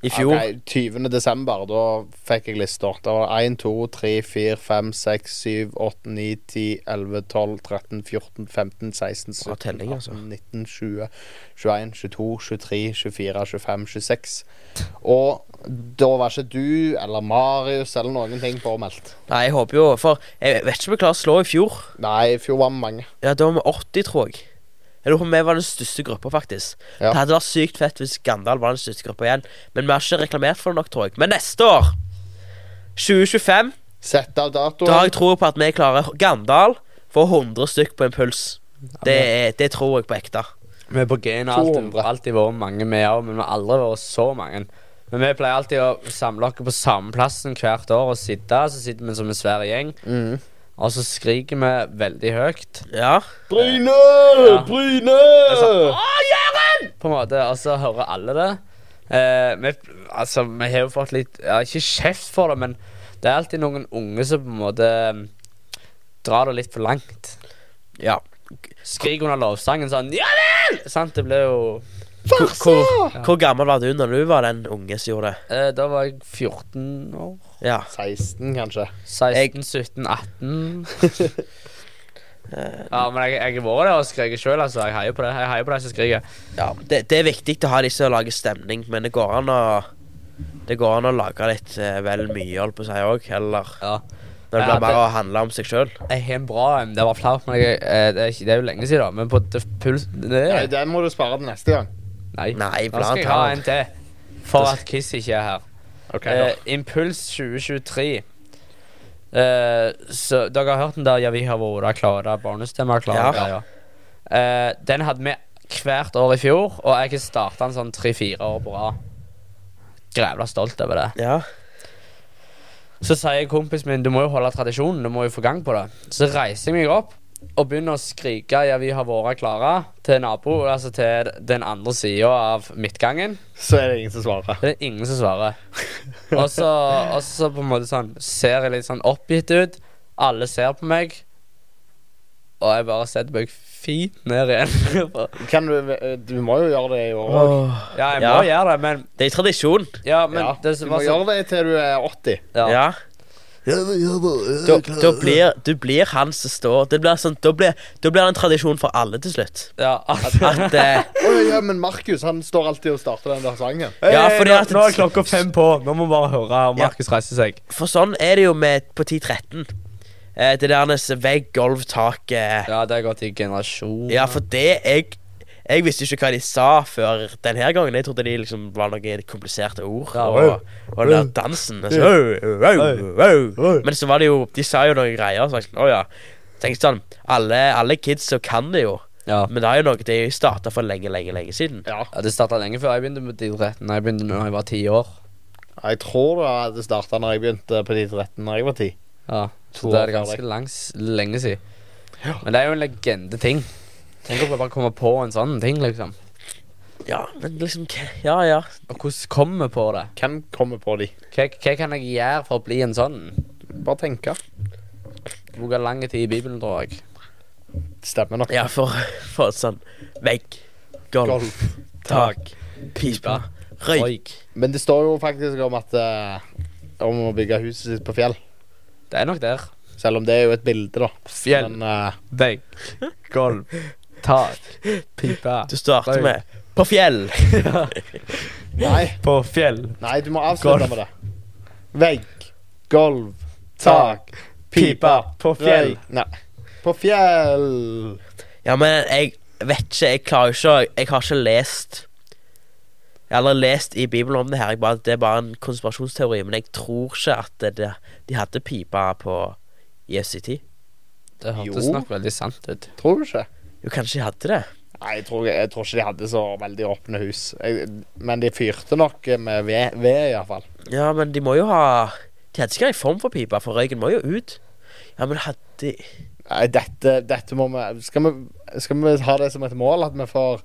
I fjor Ok, 20. desember, da fikk jeg lista. Det var 1, 2, 3, 4, 5, 6, 7, 8, 9, 10, 11, 12, 13, 14, 15, 16, 17, Bra telling, 18, altså. 19, 20, 21, 22, 23, 24, 25, 26. Og da var ikke du eller Marius eller noen ting påmeldt. Nei, jeg håper jo For jeg vet ikke om vi klarer å slå i fjor. Nei, i fjor var vi mange. Ja, Da var vi 80, tror jeg. Jeg lurer på om vi var den største gruppa, faktisk. Ja. Det hadde vært sykt fett hvis Gandal var den største gruppa igjen. Men vi har ikke reklamert for det nok, tror jeg. Men neste år, 2025, Sett av da har datoen. jeg tro på at vi klarer Gandal får 100 stykk på impuls. Det, er- det tror jeg på ekte. Vi er på G-en og alltid, 200. alltid vært mange med òg, men vi har aldri vært så mange. Men vi pleier alltid å samle oss på samme plassen hvert år og sitte. Så sitter vi som en svær gjeng, Mm. og så skriker vi veldig høyt. Ja. Bryne! Ja. Bryne! Ah, på en måte, og så hører alle det. Eh, vi, altså, vi har jo fått litt ja, Ikke kjeft for det, men det er alltid noen unge som på en måte mm, drar det litt for langt. ja. Skrik under lovsangen sånn Ja vel! Sant, det ble jo Farsa! Hvor gammel var du når du var den unge som gjorde det? eh, Da var jeg 14 år. Ja. 16, kanskje. 16, 17, 18. ja, men jeg, jeg har vært der og skreket sjøl, altså. Jeg heier på det. Jeg heier på de som skriker. ja. Det, det er viktig å ha de som lager stemning, men det går an å det går an å lage litt eh, vel mye, holdt på å si òg, eller Ja. når det Ja, blir mer å handle om seg sjøl. Jeg har en bra en. Det var flaut, men jeg, eh, det, er ikke, det er jo lenge siden, da. Men på det, puls... Det, Nei, den må du spare til neste gang. nei. Nei, Nå skal blant jeg ha en annet. til. For at Kiss ikke er her. Ok, Eh, Impuls 2023. Eh, så dere har hørt den der 'Ja, vi har vært klare', barnestemmer klare Ja. greier. Eh, den hadde vi hvert år i fjor, og jeg har starta den sånn tre-fire år på rad. Grævla stolt over det. Ja. Så sier kompisen min du må jo holde tradisjonen, du må jo få gang på det. Så reiser jeg meg opp og begynner å skrike 'Ja, vi har vært klare' til nabo, altså til den andre sida av midtgangen. Så er det ingen som svarer. Det er ingen som svarer. Og så, og så på en måte sånn ser jeg litt sånn oppgitt ut. Alle ser på meg. Og jeg bare setter meg fint ned igjen. Kan du, eh, du må jo gjøre det i år òg. Åh. ja, jeg må Ja. gjøre det, men Det er tradisjon. Ja, men ja. det Du som må var sånn gjøre det til du er 80. ja. Ja. Da, da blir, du blir han som står det blir sånn, da, blir, da blir det en tradisjon for alle til slutt. ja. *laughs* At eh, Oi, ja, men Markus han står alltid og starter den der sangen. Ja, fordi nå, at- nå er klokka fem på. Nå må vi bare høre om Ja. Markus reiser seg. For sånn er det jo med på 10-13. Eh, det der hans vegg, gulv, tak eh. Ja, det har gått i generasjon. Ja, for det jeg Jeg visste ikke hva de sa før den her gangen. Jeg trodde de liksom var noen kompliserte ord. Ja. og, og den der dansen og så, au, au, au. Men så var det jo De sa jo noen greier. Så var jeg sånn, å ja. Tenkte sånn Alle, alle kids så kan det jo. Ja. Men det er jo noe de starta for lenge, lenge, lenge siden. Ja. Ja, det starta lenge før jeg begynte med idretten. Jeg begynte da jeg var ti år. Jeg tror det hadde starta når jeg begynte på de 13 når jeg var 10. Ja, To så det er år før ganske deg. langs, lenge siden. Men det er jo en legendeting. Tenk å bare komme på en sånn ting, liksom. Ja, men liksom hva- Ja, ja. Og hvordan kommer vi på det? Hvem kommer på de? Hva, hva kan jeg gjøre for å bli en sånn? Bare tenke. Bruke lang tid i Bibelen, tror jeg. Stemmer nok. Ja, for, for sånn Vegg, gulv, Golf. tak, pipe, røyk. Røyk. Men det står jo faktisk om at eh, Om å bygge huset sitt på fjell. Det er nok der. Selv om det er jo et bilde, da. Fjell. Men eh, Vegg, gulv, tak, pipe. Du starter Røyk. med på *laughs* fjell. nei, På fjell, nei, du må avslutte Golf. med det. Vegg, gulv, tak, pipe, på røy Nei. På fjell. Ja, men jeg vet ikke. Jeg klarer jo ikke Jeg har ikke lest Jeg har aldri lest i Bibelen om det her. Jeg bare, det er bare en konspirasjonsteori. Men jeg tror ikke at det, det, de hadde pipa på i ICT. Det hørtes Jo. nok veldig sant ut. Tror du ikke? Jo, kanskje de hadde det. Nei, jeg tror, jeg tror ikke de hadde så veldig åpne hus. Jeg, men de fyrte nok med ved, ved iallfall. Ja, men de må jo ha De hadde ikke en form for pipa, for røyken må jo ut. Ja, men hadde Nei, dette, dette må vi skal, vi skal vi ha det som et mål at vi får,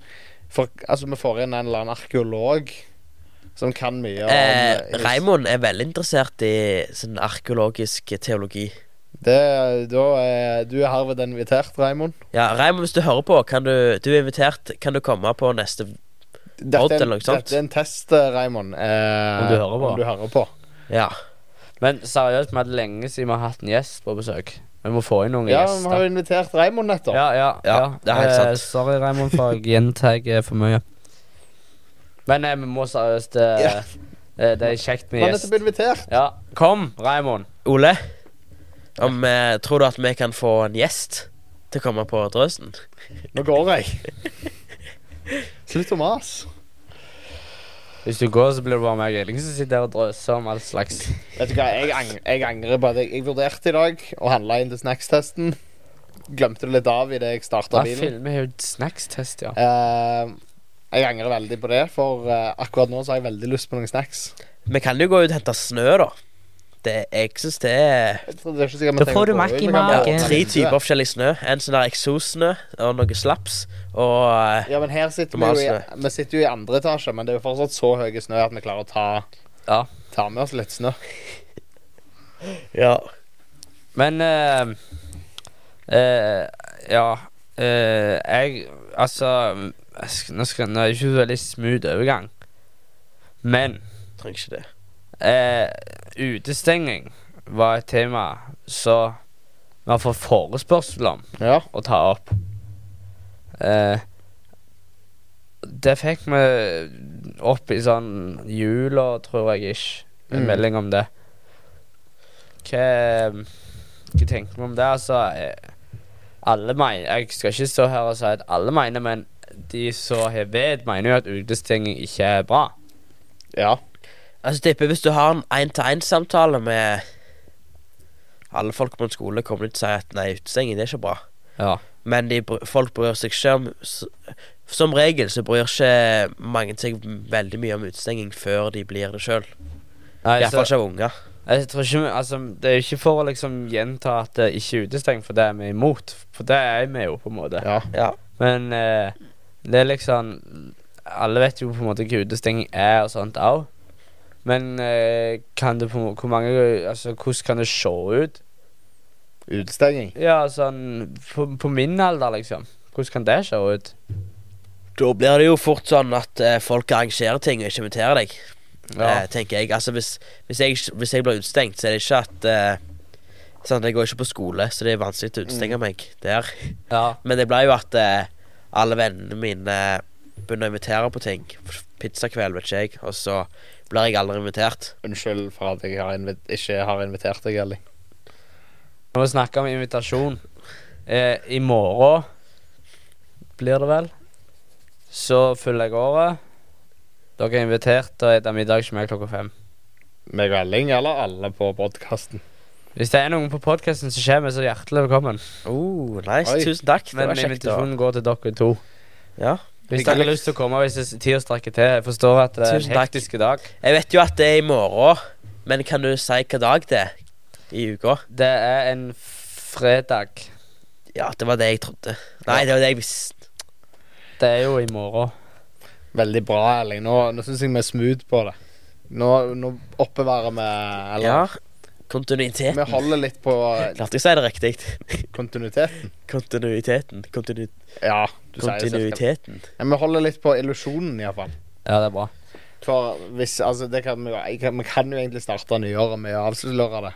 får Altså, vi får inn en eller annen arkeolog som kan mye om eh, hus. Raymond er veldig interessert i sånn arkeologisk teologi. Det, da er, du er herved invitert, Raimond. Ja, Raymond, hvis du hører på, kan du, du er invitert. Kan du komme på neste Odd er, eller en, noe sånt? dette er en test, Raimond. Om Eh, du hører på. om du hører på. Ja. Men seriøst, vi hadde lenge siden vi har hatt en gjest på besøk. Vi må få inn noen Ja, vi har gjester. jo invitert Raimond nettopp. Ja, ja, Ja, det er helt sant. Eh, sorry, Raymond, for jeg gjentar eh, for mye. Men eh, vi må seriøst eh, Ja. eh, Det er kjekt med Han er gjest. nettopp invitert. Ja, kom, Raymond. Ole, om, eh, tror du at vi kan få en gjest til å komme på Drøsen? Nå går jeg. Slutt å mase. Hvis du går, så blir det bare meg og Elling som sitter der og drøser om all slags. Vet du hva, jeg, ang jeg angrer på at jeg, jeg vurderte i dag å handle inn til snackstesten. Glemte det litt av idet jeg Da starta bilen. filmer jeg jo snackstest, ja. Eh, jeg angrer veldig på det, for eh, akkurat nå så har jeg veldig lyst på noen snacks. Vi kan jo gå ut og hente snø, da. Det, jeg syns det er Jeg tror det er ikke sikkert vi Da trenger får å du gå makk ut, i vi kan ja, bare magen. åpne tre vinduet. typer forskjellig snø. En sånn der eksossnø og noe slaps. Og eh, Ja, men her sitter vi Tomas, jo i, vi sitter jo i andre etasje, men det er jo fortsatt så høy snø at vi klarer å ta, Ja. ta med oss litt snø. ja. Men eh, eh, Ja. eh, jeg Altså jeg sk- Nå, skal, nå er det ikke så veldig smooth overgang. Men Trenger ikke det. eh, utestenging var et tema som vi har fått forespørsel om Ja. å ta opp. Eh, det fikk vi opp i sånn jula, tror jeg ikke. En Mm. melding om det. Hva, hva tenker vi om det? Altså, eh, alle mener Jeg skal ikke stå her og si at alle mener, men de som har vett, mener jo at utestenging ikke er bra. ja. Altså, tipper hvis du har en én-til-én-samtale med alle folk på en skole kommer ut og sier at nei, utestenging det er ikke bra. Ja. Men de, br- folk bryr seg ikke om s- Som regel så bryr ikke mange seg veldig mye om utestenging før de blir det sjøl. Nei, så, Iallfall ikke av unger. jeg tror ikke vi, altså, Det er jo ikke for å liksom gjenta at det ikke er utestengt, for det er vi imot. For det er vi jo, på en måte. Ja. Ja. Men eh, det er liksom Alle vet jo på en måte hva utestenging er og sånt òg. Men eh, kan det på en måte, hvor mange Altså, hvordan kan det se ut? Utestenging. Ja, sånn på, på min alder, liksom. Hvordan kan det se ut? Da blir det jo fort sånn at eh, folk arrangerer ting og ikke inviterer deg, eh, Ja. tenker jeg. Altså hvis, hvis, jeg, ikke- hvis jeg blir utestengt, så er det ikke at eh, sant, Jeg går ikke på skole, så det er vanskelig å Mm. utestenge meg der. ja. Men det ble jo at eh, alle vennene mine begynner å invitere på ting. F- Pizzakveld, vet ikke jeg. Og så blir jeg aldri invitert. Unnskyld for at jeg har invi- ikke har invitert deg, Elling. Når vi snakker om invitasjon eh, I morgen blir det vel. Så fyller jeg året. Dere er invitert til å spise middag hos meg klokka fem. Meg og Elling, eller alle på podkasten? Hvis det er noen på podkasten som kommer, så hjertelig velkommen. Oh, nice. Oi. Tusen takk. Det Men var kjekt. Da. invitasjonen går til dere to. Ja. Hvis dere har lyst til å komme hvis det er tid å strekke til. Jeg forstår at det er Tusen en takk. hektisk dag. Jeg vet jo at det er i morgen, men kan du si hvilken dag det er i uka? Det er en fredag. Ja, det var det jeg trodde. Nei, det var det jeg visste. Det er jo i morgen. Veldig bra, Elling. Nå, nå syns jeg vi er smooth på det. Nå, nå oppbevarer vi Eller Ja. Kontinuiteten. vi holder litt på Klarte jeg å si det riktig? kontinuiteten. Kontinuiteten. Kontinu Ja, du sier det cirka. kontinuiteten. Ja, Vi holder litt på illusjonen, iallfall. Ja, det er bra. For hvis Altså, det kan vi, jo- jeg kan, vi kan jo egentlig starte nyåret med å avsløre det.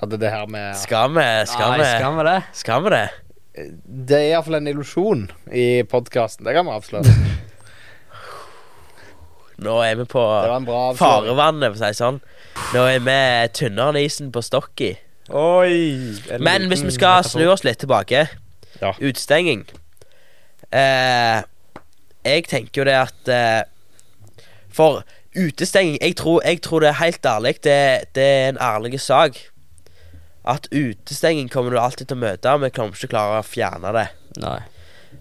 At det her med Skal vi Skal Nei, vi skal vi det? Skal vi det? Det er iallfall en illusjon i podkasten. Det kan vi avsløre. Nå er vi på Det var en bra avsløring. farevannet, for å si det sånn. Nå er vi tynnere enn isen på Stokki. Oi! Men hvis vi skal snu oss litt tilbake Ja. Utestenging. Eh, jeg tenker jo det at eh, For utestenging jeg tror, jeg tror det er helt ærlig. Det, det er en ærlig sak. At utestenging kommer du alltid til å møte, og vi kommer ikke til å klare å fjerne det. Nei.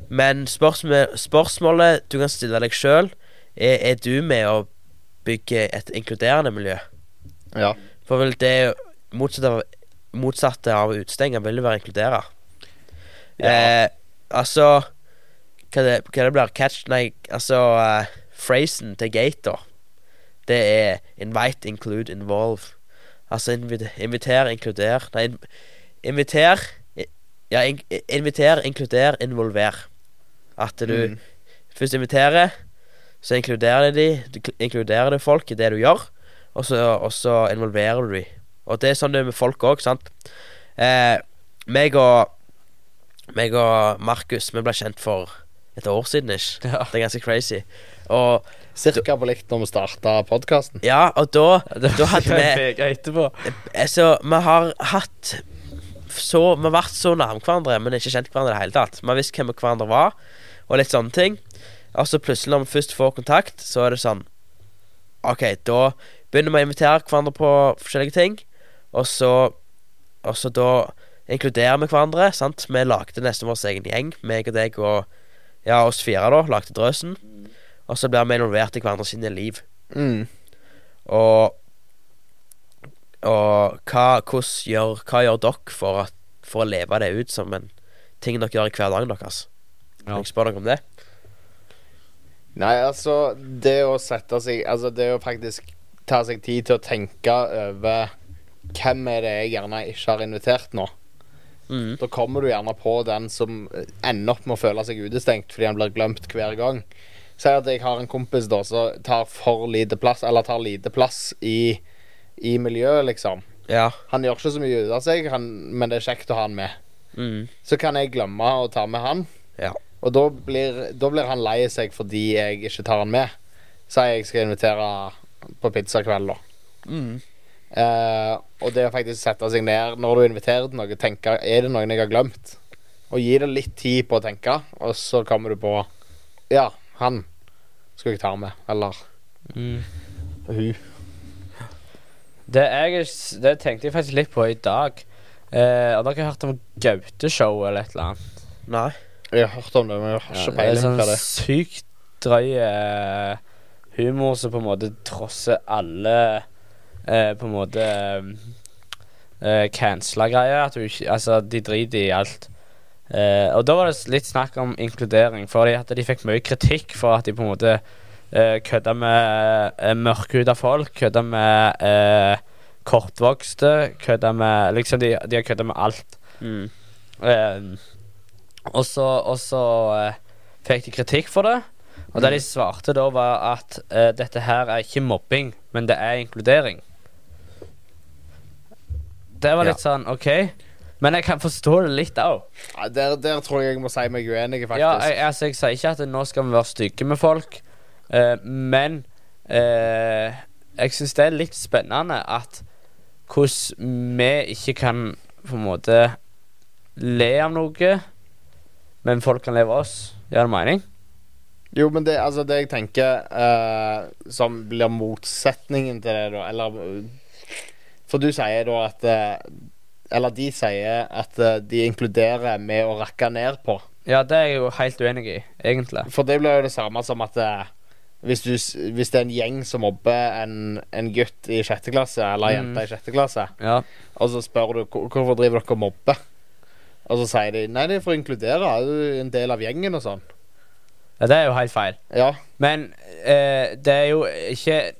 Men spørsmålet, spørsmålet du kan stille deg sjøl, er, er du med å bygge et inkluderende miljø? Ja. For vel det er jo- motsatt av, motsatte av å utestenge vil jo være inkludere. Ja. Eh, altså Hva det, hva det blir catch Nei, altså eh, Phrasen til Gate, da. Det er invite, include, involve. Altså inviter, inviter inkluder Nei, in- inviter i- Ja, in, inviter, inkluder, involver. At du Mm. først inviterer, så inkluderer de, du kl- inkluderer du folk i det du gjør, og så, og så involverer du de. Og det er sånn det er med folk òg, sant. Eh, meg og meg og Markus vi ble kjent for et år siden ish. Ja. Det er ganske crazy. Og Cirka på likt når vi starta podkasten. ja, og da Da *laughs* hadde vi- vi etterpå. Altså, vi har hatt så, Vi har vært så nærme hverandre, men ikke kjent hverandre i det hele tatt. Vi har visst hvem hverandre var, og litt sånne ting. Og så plutselig, når vi først får kontakt, så er det sånn OK, da begynner vi å invitere hverandre på forskjellige ting, og så Og så da inkluderer vi hverandre, sant. Vi lagde nesten vår egen gjeng, meg og deg og Ja, oss fire, da. Lagde Drøsen. Og så blir vi involvert i hverandre sine liv. Mm. Og Og hva, hvordan gjør, hva gjør dere for, at, for å leve det ut som en ting dere gjør i hverdagen deres? Ja. Kan Jeg spør dere om det. Nei, altså Det å sette seg Altså det å faktisk ta seg tid til å tenke over hvem er det jeg gjerne ikke har invitert nå? Mhm. Da kommer du gjerne på den som ender opp med å føle seg utestengt fordi han blir glemt hver gang. Si at jeg har en kompis da som tar for lite plass, eller tar lite plass i, i miljøet, liksom. Ja. Han gjør ikke så mye ut av seg, han, men det er kjekt å ha han med. Mhm. Så kan jeg glemme å ta med han. Ja. Og da blir, da blir han lei seg fordi jeg ikke tar han med. Si jeg skal invitere på pizzakveld, da. Mhm. Eh, og det å faktisk sette seg ned når du inviterer til noe, tenke er det noen jeg har glemt. Og gi det litt tid på å tenke, og så kommer du på Ja, han skal jeg ta med. Eller Mm. hun. Det, jeg, det tenkte jeg faktisk litt på i dag. Eh, har dere hørt om Gaute-show eller et eller annet? Nei. Jeg har hørt om det, men jeg har Ja, ikke det er peiling sånn hva det er. sykt drøy eh, humor som på en måte trosser alle eh, på en måte uh, cancela greier. At du ikke Altså, de driter i alt. Eh, og da var det s- litt snakk om inkludering, fordi at de fikk mye kritikk for at de på en måte uh, kødda med uh, mørkhuda folk, kødda med eh, kortvokste, kødda med Liksom, de, de har kødda med alt. Mm. Eh, og så, og så eh, fikk de kritikk for det. Og det de svarte da, var at eh, dette her er ikke mobbing, men det er inkludering. Det var Ja. litt sånn OK. Men jeg kan forstå det litt òg. Nei, Der, der tror jeg jeg må si meg uenig, faktisk. Ja, jeg, altså, jeg sier ikke at nå skal vi være stygge med folk, eh, men eh, jeg syns det er litt spennende at hvordan vi ikke kan på en måte le av noe, men folk kan le av oss. Gjør det mening? Jo, men det, altså, det jeg tenker eh, som blir motsetningen til det, da, eller eh, For du sier da at eh, Eller de sier at eh, de inkluderer med å rakke ned på. Ja, det er jeg jo helt uenig i, egentlig. For det blir jo det samme som at eh, hvis, du, s- hvis det er en gjeng som mobber en, en gutt i sjette klasse, eller ei Mm. jente i sjette klasse, Ja. og så spør du "Hvor- hvorfor driver dere og mobber, og så sier de nei, det er for å inkludere, du er en del av gjengen og sånn. ja, det er jo helt feil. Ja, Men eh, det er jo ikke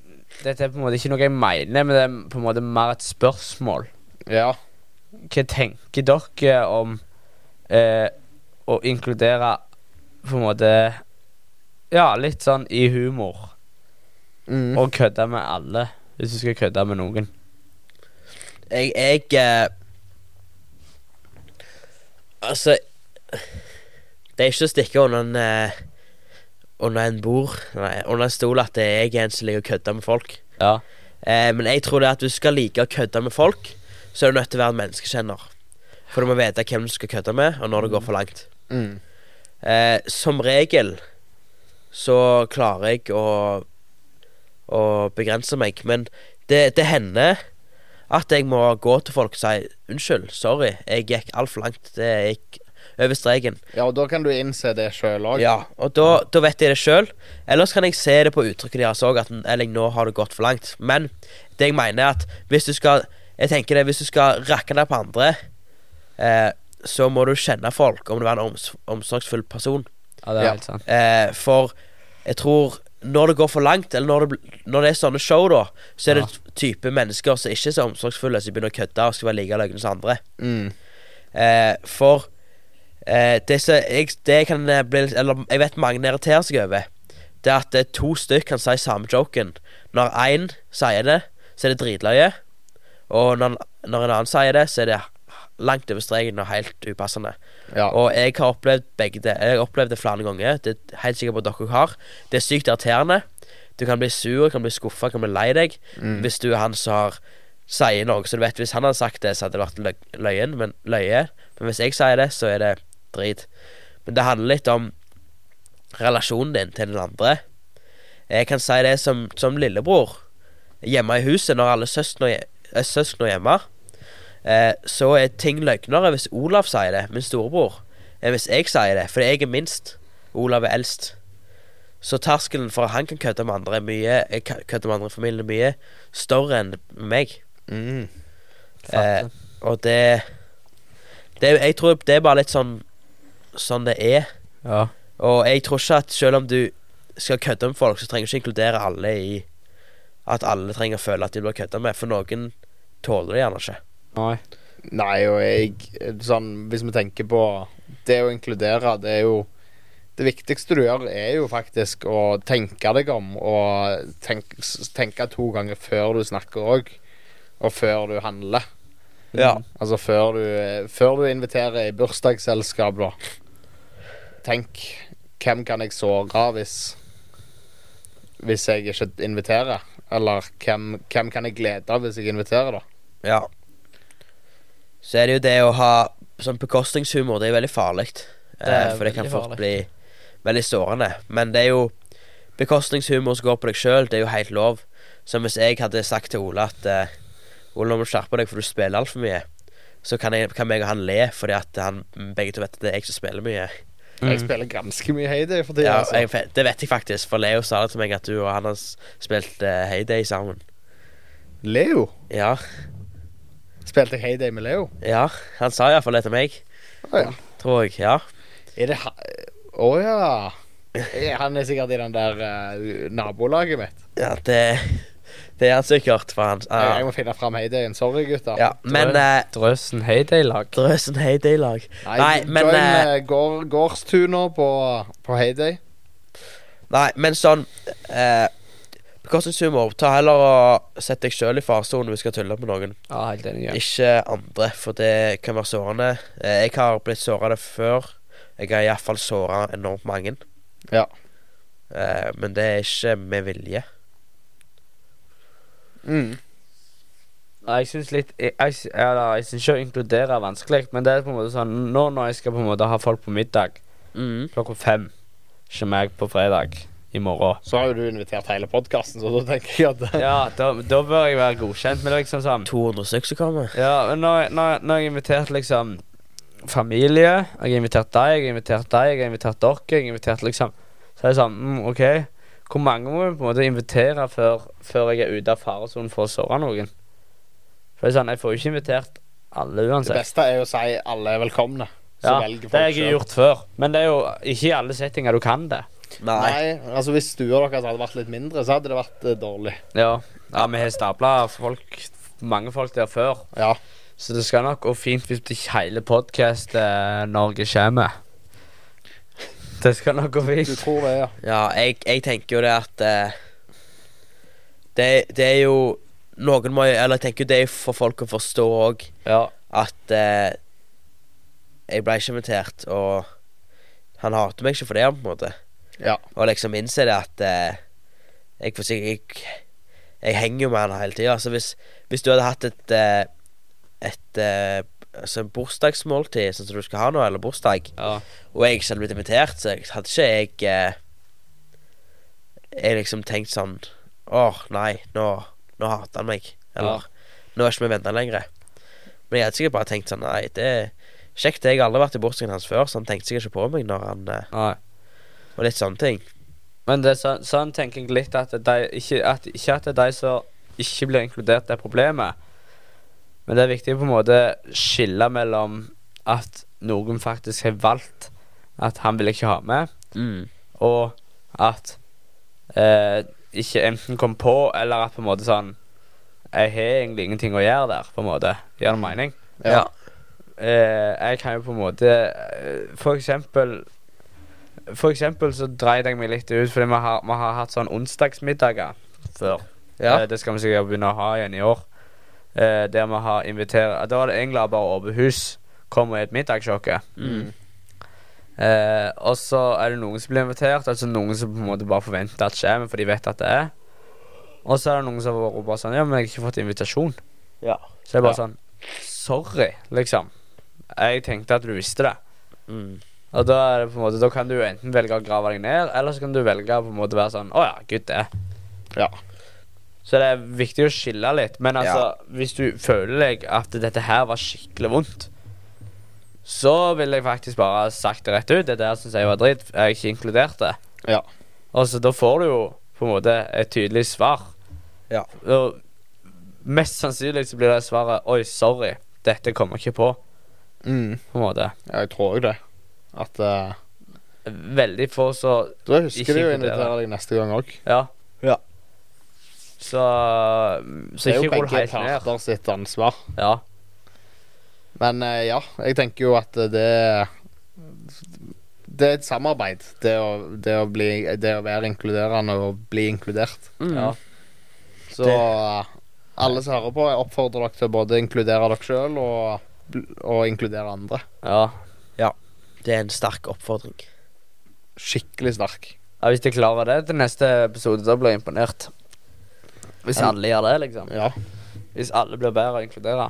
Dette er på en måte ikke noe jeg mener, men det er på en måte mer et spørsmål. ja. Hva tenker dere om eh, å inkludere på en måte Ja, litt sånn i humor. Mm. Og kødde med alle, hvis du skal kødde med noen. Jeg, jeg eh, Altså Det er ikke å stikke under en eh, Under en bord Nei, under en stol at jeg er en som liker å kødde med folk. Ja. Eh, men jeg tror det at du skal like å kødde med folk, så er du nødt til å være en menneskekjenner. For du må vite hvem du skal kødde med, og når det går for langt. Mm. Eh, som regel så klarer jeg å, å begrense meg, men det, det hender at jeg må gå til folk og si unnskyld, sorry, jeg gikk altfor langt. Det gikk over streken. Ja, og da kan du innse det sjøl òg. Ja, og da, da vet jeg det sjøl. Ellers kan jeg se det på uttrykket deres òg, at n- eller nå har det gått for langt. Men det jeg mener, er at hvis du skal Jeg tenker det, hvis du skal rakke ned på andre, eh, så må du kjenne folk, om du er en oms omsorgsfull person. ja, det er Ja. helt sant. Eh, for jeg tror når det går for langt, eller når det, bl- når det er sånne show, da, så er Ja. det type mennesker som ikke er så omsorgsfulle, som begynner å kødde og skal være like løgne som andre. Mm. Eh, for eh, det som jeg, det jeg kan eh, bli litt- Eller jeg vet mange irriterer seg over, det er at eh, to stykk kan si samme joken. Når én sier det, så er det dritløye. Og når, når en annen sier det, så er det langt over streken og helt upassende. Ja. Og jeg har opplevd begge det. Jeg har opplevd det flere ganger. Det er helt sikkert på at dere har. Det er sykt irriterende. Du kan bli sur, kan bli skuffa, kan bli lei deg. Mm. Hvis du er han som har sier noe, så du vet hvis han hadde sagt det, så hadde det vært løg- løyen, men løye. Men hvis jeg sier det, så er det drit. Men det handler litt om relasjonen din til den andre. Jeg kan si det som, som lillebror. Hjemme i huset, når alle søsknene er søsken hjemme, eh, så er ting løgnere hvis Olav sier det, min storebror, enn hvis jeg sier det. For jeg er minst. Olav er eldst. Så terskelen for at han kan kødde med andre er mye eh, kø- Kødde med andre i familien er mye større enn meg. Mm. Eh, og det, det Jeg tror det er bare litt sånn sånn det er. ja. Og jeg tror ikke at selv om du skal kødde med folk, så trenger du ikke inkludere alle i at alle trenger å føle at de blir kødda med, for noen tåler det gjerne ikke. Nei. Nei, og jeg sånn, Hvis vi tenker på det å inkludere, det er jo Det viktigste du gjør, er jo faktisk å tenke deg om, og tenk, s- tenke to ganger før du snakker òg, og før du handler. Ja. Altså før du, før du inviterer i bursdagsselskap, da. Tenk hvem kan jeg såre hvis Hvis jeg ikke inviterer? Eller hvem, hvem kan jeg glede av hvis jeg inviterer, da? ja. Så er det jo det å ha sånn bekostningshumor, det er jo veldig farlig. Det er Eh, for det kan veldig fort farlig. bli veldig sårende. Men det er jo bekostningshumor som går på deg sjøl, det er jo helt lov. Som hvis jeg hadde sagt til Ole at eh, Ole, nå må du skjerpe deg, for du spiller altfor mye. så kan, jeg, kan meg og han le, fordi at han, begge to vet at det er jeg som spiller mye. Mm. Jeg spiller ganske mye Hayday for tida. Mm. Ja, altså. jeg, vet- det vet jeg faktisk, for Leo sa det til meg at du og han har s- spilt eh, Heyday sammen. Leo? Ja, Spilte jeg Hayday med Leo? ja. Han sa iallfall det til meg, Å ja. tror jeg. Ja. Er det ha... Å ja. Eh, Han er sikkert i den der eh, nabolaget mitt. ja det, det er han sikkert, for han Jeg- Jeg ja. må finne fram Haydayen. Sorry, gutter. ja. Men eh, Drøsen Heyday-lag. Drøsen Heyday-lag Nei, Nei, men, join eh, eh, gård, gårdstur nå på, på Hayday. Nei, men sånn eh, Bekostningshumor. Ta heller og sett deg sjøl i faresonen hvis du skal tulle med noen. Ja, helt enig. Ja. Ikke andre, for det kan være sårende. Eh, jeg har blitt såra det før. Jeg har iallfall såra enormt mange. Ja. Eh, men det er ikke med vilje. Mm. Ja, Jeg syns litt Jeg, jeg, sy- eller, jeg syns ikke å inkludere er vanskelig, men det er på en måte sånn Nå når jeg skal på en måte ha folk på middag klokka fem, ikke meg på fredag i *laughs* morgen Så har jo du invitert hele podkasten, så da tenker jeg at Ja, da, da bør jeg være godkjent, men det er liksom sånn 200 stykker som kommer. Ja, men når, jeg- når, jeg- når jeg inviterte liksom familie Jeg har invitert deg, jeg har invitert deg, jeg har invitert dere Jeg har invitert liksom Så er det sånn, mm, ok Hvor mange må vi på en måte invitere før, før jeg er ute av faresonen for å såre noen? For det er sånn, jeg får jo ikke invitert alle Det uansett beste er jo å si alle er velkomne. Så Ja, Det velger har folk jeg selv. gjort før Men det er jo ikke i alle settinger du kan det Nei. Nei, altså Hvis stua deres hadde vært litt mindre, så hadde det vært eh, dårlig. Ja, ja vi har stablet folk Mange folk der før Ja. Så det skal nok gå fint hvis ikke hele podcast eh, Norge kommer. Det skal nok gå Du fint. tror det, ja. Ja, jeg, jeg tenker jo det at eh, det, det er jo Noen må jo Eller jeg tenker jo det er for folk å forstå òg Ja. at eh, jeg ble ikke invitert, og han hater meg ikke for det, på en måte. Ja. Og liksom innse det at eh, jeg, får sikkert- jeg, jeg henger jo med han hele tida. Altså hvis, hvis du hadde hatt et eh, Et eh, altså en bursdagsmåltid, sånn som du skal ha nå, eller bursdag, ja. og jeg ikke hadde blitt invitert, så jeg- hadde ikke jeg eh, Jeg liksom tenkt sånn Åh, nei, nå, nå hater han meg. Eller Nå er ikke vi venner lenger. Men jeg hadde sikkert bare tenkt sånn Nei, det er kjekt. Jeg har aldri vært i bursdagen hans før, så han tenkte sikkert ikke på meg når han eh, Nei. Og litt sånne ting. Men det er så, sånn tenker jeg litt at de ikke at, ikke at det er de som ikke blir inkludert, det er problemet. Men det er viktig å på en måte skille mellom at noen faktisk har valgt at han vil ikke ha med, Mm. og at eh, ikke enten kom på, eller at på en måte sånn Jeg har egentlig ingenting å gjøre der, på en måte. Gjør det mening? Ja. Ja. eh, jeg kan jo på en måte eh, For eksempel For eksempel så dreide jeg meg litt ut fordi vi har, vi har hatt sånn onsdagsmiddager før. Eh, Ja. det skal vi sikkert begynne å ha igjen i år. Eh, der vi har invitert Da var det egentlig bare åpent hus. Kom og et middagssjokke. Mm. Eh, og så er det noen som blir invitert, altså noen som på en måte bare forventer at skjer, men for de vet at det er. Og så er det noen som har vært bare sånn Ja, men jeg har ikke fått invitasjon. Ja. Så det er bare Ja. sånn Sorry, liksom. Jeg tenkte at du visste det. Mm. Og da er det på en måte Da kan du enten velge å grave deg ned, eller så kan du velge å på en måte være sånn Å ja, gud, det. Ja. Så det er viktig å skille litt. Men altså, hvis du føler deg at dette her var skikkelig vondt, så ville jeg faktisk bare ha sagt det rett ut. Det der syns jeg var dritt. Jeg er ikke inkludert det. Ja. Og så da får du jo på en måte et tydelig svar. Ja. Og mest sannsynlig så blir det svaret Oi, sorry. Dette kommer jeg ikke på. Mm. På en måte. ja jeg tror jo det. At eh, Veldig få så Da husker Ikke de å inkludere. invitere deg neste gang òg. Ja. Ja. Så Så Det er jo ikke rull begge helt ned. parter sitt ansvar. Ja. Men eh, ja, jeg tenker jo at eh, det Det er et samarbeid, det å, det å, bli, det å være inkluderende og bli inkludert. Mm. ja. Så eh, alle som hører på, jeg oppfordrer dere til å både inkludere dere sjøl og, bl- og inkludere andre. ja. Det er en sterk oppfordring. Skikkelig sterk. ja. Hvis de klarer det til neste episode, da blir jeg imponert. Hvis Ja. alle gjør det, liksom. Ja. Hvis alle blir bedre å inkludere.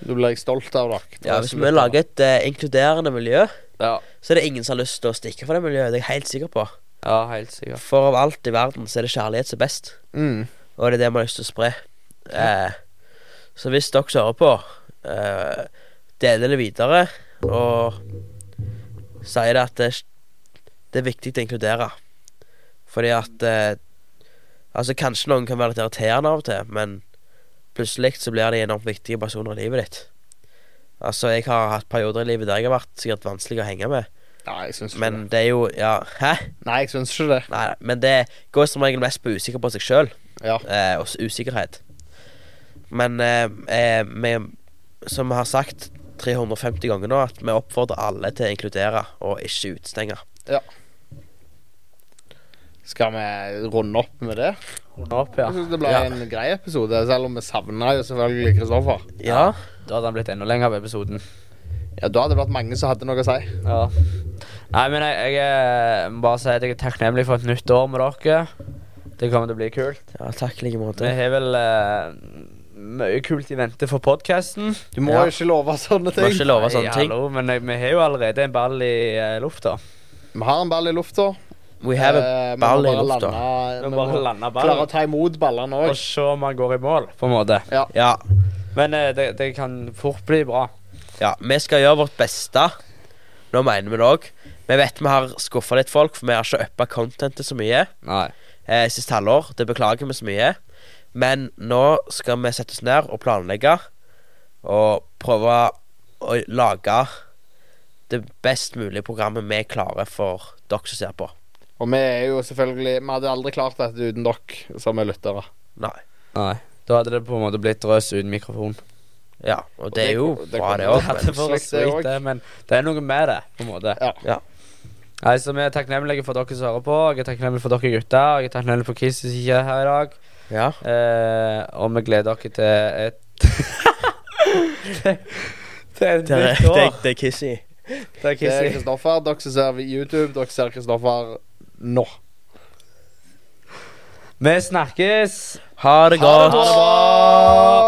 Da blir jeg stolt av dere. Ja, Hvis vi lager et eh, inkluderende miljø, Ja. så er det ingen som har lyst til å stikke fra det miljøet. Det er jeg helt sikker på. Ja, helt sikkert. For av alt i verden så er det kjærlighet som er best. mm. Og det er det vi har lyst til å spre. Eh, så hvis dere som hører på, eh, deler det videre og sier det at det, det er viktig å inkludere. Fordi at eh, Altså, kanskje noen kan være litt irriterende av og til, men plutselig så blir de enormt viktige personer i livet ditt. Altså, jeg har hatt perioder i livet der jeg har vært sikkert vanskelig å henge med, Nei, jeg syns ikke men det. det er jo Ja, hæ? Nei, jeg syns ikke det. Nei, men det går som regel mest på usikker på seg sjøl Ja. eh, og s- usikkerhet. Men eh, eh, vi, som vi har sagt 350 ganger nå, at vi oppfordrer alle til å inkludere og ikke utestenge. Skal vi runde opp med det? Runde opp, ja. Jeg synes det ble Ja. en grei episode, selv om vi savna jo selvfølgelig Kristoffer. Ja. Da hadde han blitt enda lenger av episoden. Ja, da hadde det vært mange som hadde noe å si. Ja. Nei, men jeg, jeg eh, må bare si at jeg er takknemlig for et nytt år med dere. Det kommer til å bli kult. ja takk i Vi like måte. har vel eh, mye kult i vente for podkasten. Du må Ja. jo ikke love sånne Må ting. ikke love sånne ting. Hallo, men eh, vi har jo allerede en ball i eh, lufta. Vi har en ball i lufta. We have a Eh, vi må ball i bare lufta. lande- Vi Vi må må bare lande klare å ballen ta imot ballene og òg. se om han går i mål, på en måte. Ja. Men eh, det, det kan fort bli bra. ja. Vi skal gjøre vårt beste. Nå mener vi det òg. Vi vet vi har skuffa litt folk, for vi har ikke uppa contentet så mye. Nei. eh, siste halvår. Det beklager vi så mye. Men nå skal vi sette oss ned og planlegge og prøve å lage det best mulige programmet vi klarer for dere som ser på. Og vi er jo selvfølgelig Vi hadde aldri klart dette uten dere som er lyttere. Nei. Nei. Da hadde det på en måte blitt drøs uten mikrofon. Ja, og det er jo Og det- det bra, kommer- det Det òg. hadde vært Slik det sweet, også. det, men det er noe med det, på en måte. Ja. Ja. Nei, så Vi er takknemlige for dere som hører på. Jeg er takknemlig for dere gutter. Jeg er takknemlig for Kiss som ikke er her i dag. Ja. Eh, og vi gleder dere til et *laughs* Til et *laughs* Det er, nytt det, år. er- det er Kissy. Det er Det er Kiss. Kristoffer. Dere som ser YouTube, dere ser Kristoffer nå. Vi snakkes. Ha det Ha godt. det bra!